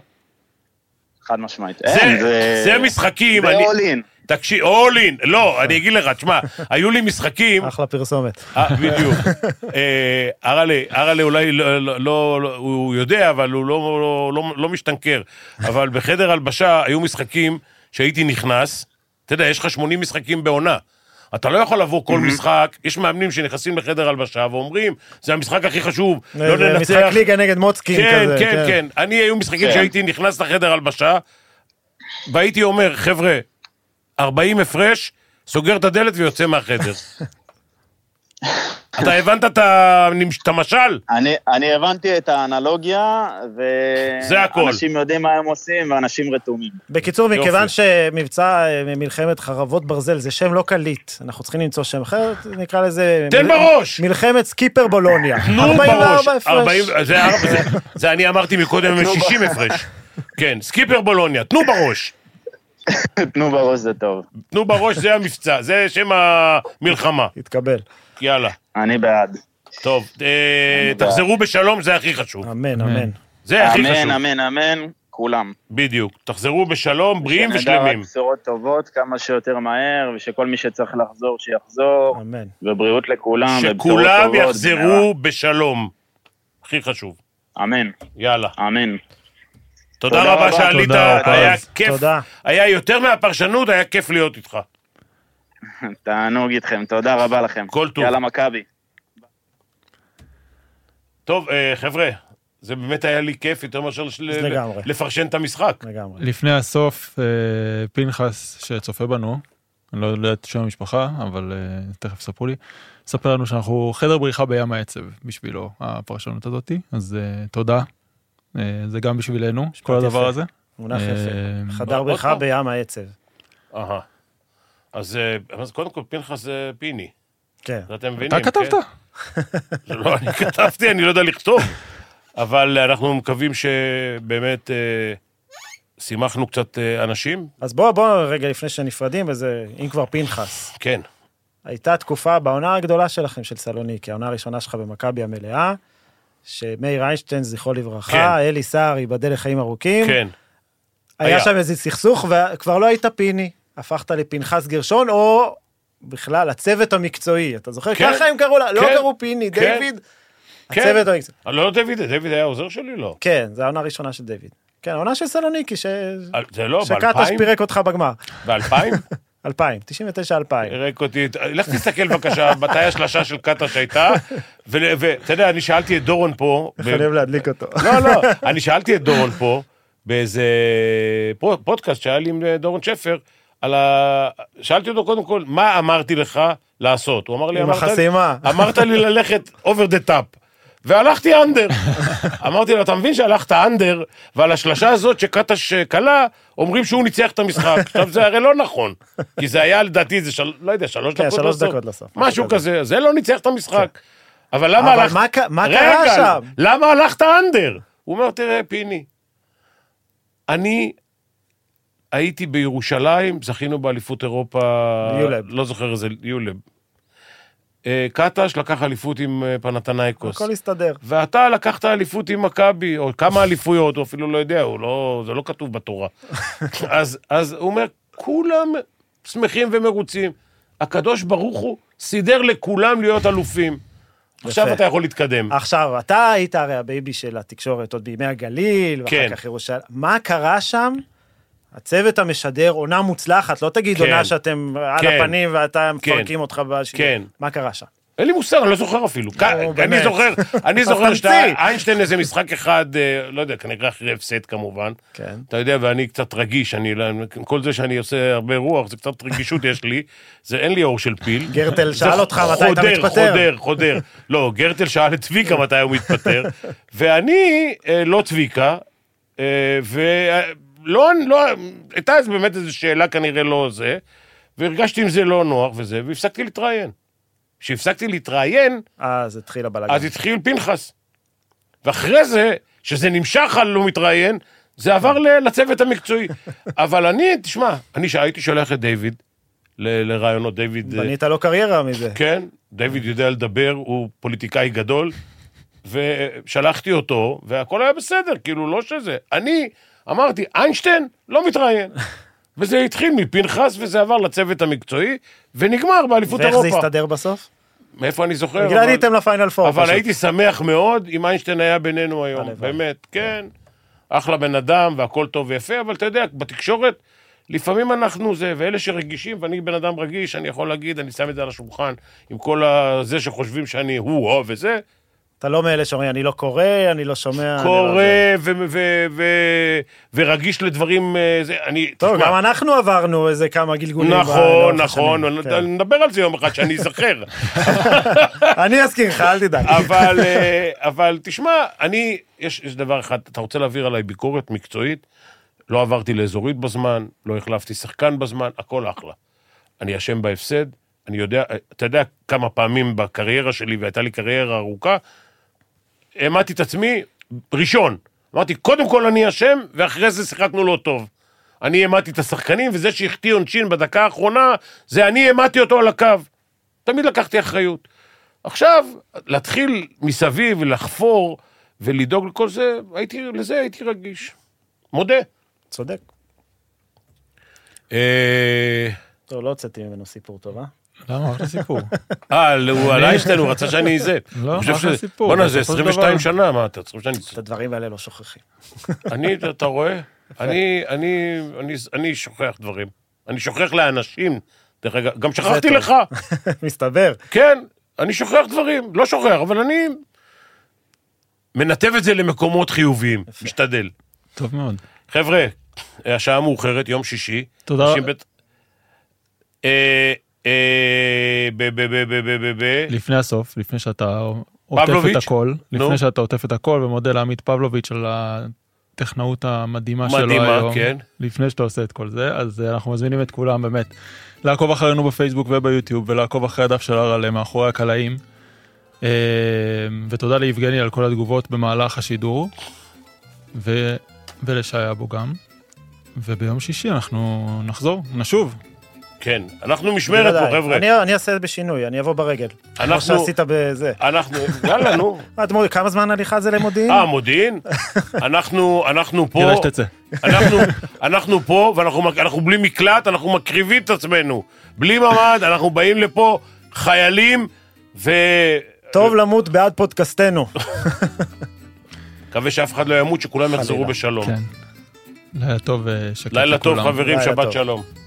Speaker 5: חד משמעית.
Speaker 2: זה,
Speaker 5: אין,
Speaker 2: זה, זה משחקים,
Speaker 5: כן, זה
Speaker 2: אני...
Speaker 5: all in.
Speaker 2: תקשיב, אולין, לא, אני אגיד לך, תשמע, היו לי משחקים,
Speaker 3: אחלה פרסומת.
Speaker 2: אה, בדיוק. אה, אראלה, אראלה אולי לא, לא- לא, הוא יודע, אבל הוא לא, לא, לא, לא משתנקר. אבל בחדר הלבשה היו משחקים שהייתי נכנס, אתה יודע, יש לך 80 משחקים בעונה. אתה לא יכול לבוא כל משחק, יש מאמנים שנכנסים לחדר הלבשה ואומרים, זה המשחק הכי חשוב, לא
Speaker 3: אה, זה
Speaker 2: ננצח.
Speaker 3: משחק ליגה נגד מוצקין
Speaker 2: כן,
Speaker 3: כזה.
Speaker 2: כן, כן. אני, היו משחקים
Speaker 5: כן.
Speaker 2: שהייתי נכנס לחדר הלבשה, והייתי אומר, חבר'ה, 40 הפרש, סוגר את הדלת ויוצא מהחדר. אתה הבנת את הנמש- את המשל?
Speaker 5: אני, אני הבנתי את האנלוגיה,
Speaker 2: זה הכל.
Speaker 5: ואנשים יודעים מה הם עושים, ואנשים רתומים.
Speaker 3: בקיצור,
Speaker 2: יופי.
Speaker 3: מכיוון שמבצע אה, מלחמת חרבות ברזל זה שם לא קליט, אנחנו צריכים למצוא שם אחר, נקרא לזה...
Speaker 2: תן
Speaker 3: מל-
Speaker 2: בראש!
Speaker 3: מלחמת סקיפר בולוניה.
Speaker 2: נו, בראש.
Speaker 3: 44 הפרש.
Speaker 2: 40 זה ארבע- זה- זה אני אמרתי מקודם 60 הפרש. כן, סקיפר בולוניה, תנו בראש.
Speaker 5: תנו בראש, זה טוב.
Speaker 2: תנו בראש, זה המבצע, זה שם המלחמה.
Speaker 3: התקבל.
Speaker 2: יאללה.
Speaker 5: אני בעד.
Speaker 2: טוב, אה, תחזרו בשלום, זה הכי חשוב.
Speaker 3: אמן,
Speaker 4: אמן.
Speaker 3: אמן.
Speaker 2: זה הכי חשוב.
Speaker 5: אמן, אמן, אמן, כולם.
Speaker 2: בדיוק. תחזרו בשלום, בריאים
Speaker 5: שנדע רק
Speaker 2: ושלמים.
Speaker 5: בשורות טובות כמה שיותר מהר, ושכל מי שצריך לחזור, שיחזור,
Speaker 3: אמן.
Speaker 5: ובריאות לכולם, ובשורות
Speaker 2: שכולם
Speaker 5: אה, טובות.
Speaker 2: יחזרו בשלום. הכי חשוב.
Speaker 5: אמן,
Speaker 2: יאללה.
Speaker 5: אמן.
Speaker 2: תודה
Speaker 5: תודה
Speaker 2: רבה
Speaker 5: רבה.
Speaker 2: שעלית,
Speaker 4: תודה,
Speaker 2: היה
Speaker 4: פז.
Speaker 2: כיף.
Speaker 3: תודה.
Speaker 2: היה יותר מהפרשנות, היה כיף להיות איתך.
Speaker 5: תענוג איתכם, תודה רבה לכם.
Speaker 2: כל טוב.
Speaker 5: יאללה, מכבי.
Speaker 2: טוב, אה, חבר'ה, זה באמת היה לי כיף יותר מאשר לש- ל-
Speaker 3: לגמרי.
Speaker 2: לפרשן את המשחק.
Speaker 3: לגמרי.
Speaker 4: לפני הסוף, אה, פנחס שצופה בנו, אני לא יודע את שם המשפחה, אבל אה, תכף ספרו לי, ספר לנו שאנחנו חדר בריחה בים העצב בשבילו, הפרשנות הזאתי, אז אה, תודה. אה, זה גם בשבילנו, כל הדבר
Speaker 3: יפה.
Speaker 4: הזה.
Speaker 3: מונח
Speaker 4: אה,
Speaker 3: יפה. חדר
Speaker 2: עוד
Speaker 3: בריכה
Speaker 2: פעם?
Speaker 3: בים העצב.
Speaker 2: אהה. אז אה, אז קודם כל, פנחס זה פיני.
Speaker 3: כן.
Speaker 2: זה אתם מבינים,
Speaker 4: אתה כתבת?
Speaker 2: כן? זה לא אני כתבתי, אני לא יודע לכתוב. אבל אנחנו מקווים שבאמת אה, שימחנו קצת אה, אנשים.
Speaker 3: אז בוא, בוא, רגע לפני שנפרדים, וזה, אם כבר פנחס.
Speaker 2: כן.
Speaker 3: הייתה תקופה בעונה הגדולה שלכם, של סלוניקי, העונה הראשונה שלך במכבי המלאה, שמאיר איינשטיין, זכרו לברכה,
Speaker 2: כן.
Speaker 3: אלי סער, ייבדל לחיים ארוכים.
Speaker 2: כן.
Speaker 3: היה
Speaker 2: היה.
Speaker 3: שם איזה סכסוך, וכבר לא היית פיני. הפכת לפנחס גרשון, או בכלל, הצוות המקצועי, אתה זוכר?
Speaker 2: כן.
Speaker 3: ככה הם קראו לה, לא
Speaker 2: כן.
Speaker 3: קראו פיני,
Speaker 2: כן.
Speaker 3: דיוויד,
Speaker 2: כן.
Speaker 3: הצוות המקצועי.
Speaker 2: אה, לא דיוויד, דיוויד היה עוזר שלי? לא.
Speaker 3: כן, זו העונה הראשונה של דיוויד. כן, העונה של סלוניקי, ש...
Speaker 2: אה, זה לא,
Speaker 3: שקטש
Speaker 2: ב-2000?
Speaker 3: פירק אותך בגמר.
Speaker 2: ב-2000?
Speaker 3: 2000, 99 2000.
Speaker 2: פירק אותי. לך תסתכל בבקשה מתי השלשה של קטש הייתה. ול- ואתה יודע, אני שאלתי את דורון פה. ב-
Speaker 3: חייב להדליק אותו.
Speaker 2: לא, לא, אני שאלתי את דורון פה, באיזה פרו- פודקאסט שהיה לי עם אה, דורון שפר, על ה... שאלתי אותו קודם כל, מה אמרתי לך לעשות? הוא אמר לי,
Speaker 3: עם
Speaker 2: אמרת לי-
Speaker 3: החסימה.
Speaker 2: אמרת לי ללכת over the top. והלכתי אנדר. אמרתי לו, אתה מבין שהלכת אנדר, ועל השלשה הזאת שקטש אה, כלה, אומרים שהוא ניצח את המשחק. עכשיו, זה הרי לא נכון, כי זה היה, לדעתי, זה, של... לא יודע, שלוש
Speaker 3: כן,
Speaker 2: דקות
Speaker 3: שלוש
Speaker 2: לסוף.
Speaker 3: דקות לסוף, משהו
Speaker 2: משהו
Speaker 3: כזה.
Speaker 2: כזה, זה לא ניצח את המשחק. אבל למה
Speaker 3: אבל
Speaker 2: הלכת...
Speaker 3: מה ק- מה
Speaker 2: רגע,
Speaker 3: קרה שם?
Speaker 2: למה הלכת אנדר? הוא אומר, תראה, פיני, אני הייתי בירושלים, זכינו באליפות אירופה...
Speaker 3: ביולב.
Speaker 2: לא זוכר איזה, יולב. אה, קטש לקח אליפות עם אה, פנתנייקוס.
Speaker 3: הכל הסתדר.
Speaker 2: ואתה לקחת אליפות עם מכבי, או כמה אליפויות, הוא אפילו לא יודע, הוא לא, זה לא כתוב בתורה. אז, אז הוא אומר, כולם שמחים ומרוצים. הקדוש ברוך הוא סידר לכולם להיות אלופים. עכשיו אתה יכול להתקדם.
Speaker 3: עכשיו, אתה היית הרי הבייבי של התקשורת עוד בימי הגליל, ואחר
Speaker 2: כן.
Speaker 3: כך ירושלים. מה קרה שם? הצוות המשדר, עונה מוצלחת, לא תגיד
Speaker 2: כן.
Speaker 3: עונה שאתם על
Speaker 2: כן.
Speaker 3: הפנים ואתה
Speaker 2: כן.
Speaker 3: מפרקים אותך בשידור.
Speaker 2: כן.
Speaker 3: מה קרה שם?
Speaker 2: אין לי מושג, אני לא זוכר אפילו. כ-
Speaker 3: באמת.
Speaker 2: אני זוכר, אני זוכר
Speaker 3: אז תמציא.
Speaker 2: שאתה, איינשטיין איזה משחק אחד, אה, לא יודע, כנראה אחרי הפסד כמובן.
Speaker 3: כן.
Speaker 2: אתה יודע, ואני קצת רגיש, אני, לא- כל זה שאני עושה הרבה רוח, זה קצת רגישות יש לי, זה אין לי אור של פיל.
Speaker 3: גרטל
Speaker 2: זה
Speaker 3: שאל אותך מתי אתה מתפטר.
Speaker 2: חודר, חודר. לא, גרטל שאל את צביקה מתי הוא מתפטר, ואני אה, לא צביקה, אה, ולא, לא, הייתה אז באמת איזו שאלה כנראה לא זה, והרגשתי עם זה לא נוח וזה, והפסקתי להתראיין. כשהפסקתי להתראיין,
Speaker 3: אז התחיל הבלאגן.
Speaker 2: אז התחיל פנחס. ואחרי זה, שזה נמשך על לא מתראיין, זה עבר ל- לצוות המקצועי. אבל אני, תשמע, אני הייתי שולח את דיוויד ל- לרעיונות, דיוויד... אה,
Speaker 3: בנית לו קריירה מזה.
Speaker 2: כן, דיוויד יודע לדבר, הוא פוליטיקאי גדול, ושלחתי אותו, והכל היה בסדר, כאילו, לא שזה. אני אמרתי, איינשטיין לא מתראיין. וזה התחיל מפנחס, וזה עבר לצוות המקצועי, ונגמר באליפות
Speaker 3: ואיך
Speaker 2: אירופה.
Speaker 3: זה הסתדר בסוף?
Speaker 2: מאיפה אני זוכר?
Speaker 3: בגלל
Speaker 2: אבל-
Speaker 3: הייתם לפיינל פור.
Speaker 2: אבל
Speaker 3: פשוט.
Speaker 2: הייתי שמח מאוד אם איינשטיין היה בינינו היום,
Speaker 3: הלוואי.
Speaker 2: באמת, כן. אחלה בן אדם והכל טוב ויפה, אבל אתה יודע, בתקשורת, לפעמים אנחנו זה, ואלה שרגישים, ואני בן אדם רגיש, אני יכול להגיד, אני שם את זה על השולחן, עם כל ה- זה שחושבים שאני הוא, או וזה,
Speaker 3: אתה לא מאלה שאומרים, אני לא קורא, אני לא שומע. אני לא
Speaker 2: קורא
Speaker 3: זה."
Speaker 2: ו- ו- ו- ו- ורגיש לדברים, אה, זה, אני...
Speaker 3: טוב,
Speaker 2: תשמע,
Speaker 3: גם אנחנו עברנו איזה כמה גלגולים.
Speaker 2: נכון,
Speaker 3: לאורך
Speaker 2: נכון,
Speaker 3: השנים. כן.
Speaker 2: נדבר על זה יום אחד, שאני אזכר.
Speaker 3: אני אזכיר לך, אל תדאג.
Speaker 2: אבל, אה, אבל תשמע, אני, יש, יש דבר אחד, אתה רוצה להעביר עליי ביקורת מקצועית, לא עברתי לאזורית בזמן, לא החלפתי שחקן בזמן, הכל אחלה. אני אשם בהפסד, אני יודע, אתה יודע כמה פעמים בקריירה שלי, והייתה לי קריירה ארוכה, העמדתי את עצמי ראשון. אמרתי, קודם כל אני אשם, ואחרי זה שיחקנו לא טוב. אני העמדתי את השחקנים, וזה שהחטיא עונשין בדקה האחרונה, זה אני העמדתי אותו על הקו. תמיד לקחתי אחריות. עכשיו, להתחיל מסביב, לחפור ולדאוג לכל זה, הייתי, לזה הייתי רגיש. מודה.
Speaker 3: צודק.
Speaker 2: אה,
Speaker 3: טוב, לא הוצאתי ממנו סיפור טוב, אה?
Speaker 4: למה? אחלה סיפור.
Speaker 2: אה, הוא על איינשטיין, הוא רצה שאני זה.
Speaker 4: לא,
Speaker 2: הוא חושב
Speaker 4: מה זה
Speaker 2: שזה-
Speaker 4: הסיפור?
Speaker 2: בואנה, זה
Speaker 4: בסופו של
Speaker 2: 22
Speaker 4: דבר-
Speaker 2: שנה, מה אתה צריך שאני...
Speaker 3: את הדברים האלה לא שוכחים.
Speaker 2: אני, אתה רואה? אני, אני, אני, אני שוכח דברים. אני שוכח לאנשים. דרך אגב, גם שכחתי
Speaker 3: טוב.
Speaker 2: לך.
Speaker 3: מסתבר.
Speaker 2: כן, אני שוכח דברים. לא שוכח, אבל אני מנתב את זה למקומות חיוביים. משתדל.
Speaker 4: טוב מאוד.
Speaker 2: חבר'ה, השעה מאוחרת, יום שישי.
Speaker 4: תודה.
Speaker 2: אנשים בט- אה, אה, ב... ב... ב... ב... ב... ב... ב...
Speaker 4: לפני הסוף, לפני שאתה עוטף
Speaker 2: פבלוביץ'?
Speaker 4: את הכל,
Speaker 2: נו.
Speaker 4: לפני שאתה עוטף את הכל, ומודה לעמית פבלוביץ' על הטכנאות המדהימה שלו
Speaker 2: מדהימה,
Speaker 4: היום.
Speaker 2: כן.
Speaker 4: לפני שאתה עושה את כל זה, אז אה, אנחנו מזמינים את כולם באמת לעקוב אחרינו בפייסבוק וביוטיוב, ולעקוב אחרי הדף של הרלה מאחורי הקלעים. אה, ותודה ליבגני על כל התגובות במהלך השידור, ו... ולשי אבו גם. וביום שישי אנחנו נחזור, נשוב.
Speaker 2: כן, אנחנו משמרת פה,
Speaker 3: בוודאי.
Speaker 2: חבר'ה.
Speaker 3: אני- אני אעשה בשינוי, אני אבוא ברגל. כמו
Speaker 2: אנחנו-
Speaker 3: שעשית בזה.
Speaker 2: אנחנו, יאללה, נו.
Speaker 3: אה, אתם אומרים, כמה זמן הליכה זה למודיעין?
Speaker 2: אה, מודיעין? אנחנו, אנחנו פה...
Speaker 4: כדאי שתצא.
Speaker 2: אנחנו, אנחנו פה, ואנחנו מק- אנחנו בלי מקלט, אנחנו מקריבים את עצמנו. בלי ממ"ד, אנחנו באים לפה חיילים, ומקווה
Speaker 3: טוב למות בעד פודקאסטנו.
Speaker 2: שאף אחד לא ימות, שכולם יחזרו בשלום.
Speaker 4: כן. לילה טוב, אה, שקט.
Speaker 2: לילה טוב,
Speaker 4: לכולם.
Speaker 2: חברים,
Speaker 3: לילה
Speaker 2: שבת
Speaker 3: טוב.
Speaker 2: שלום.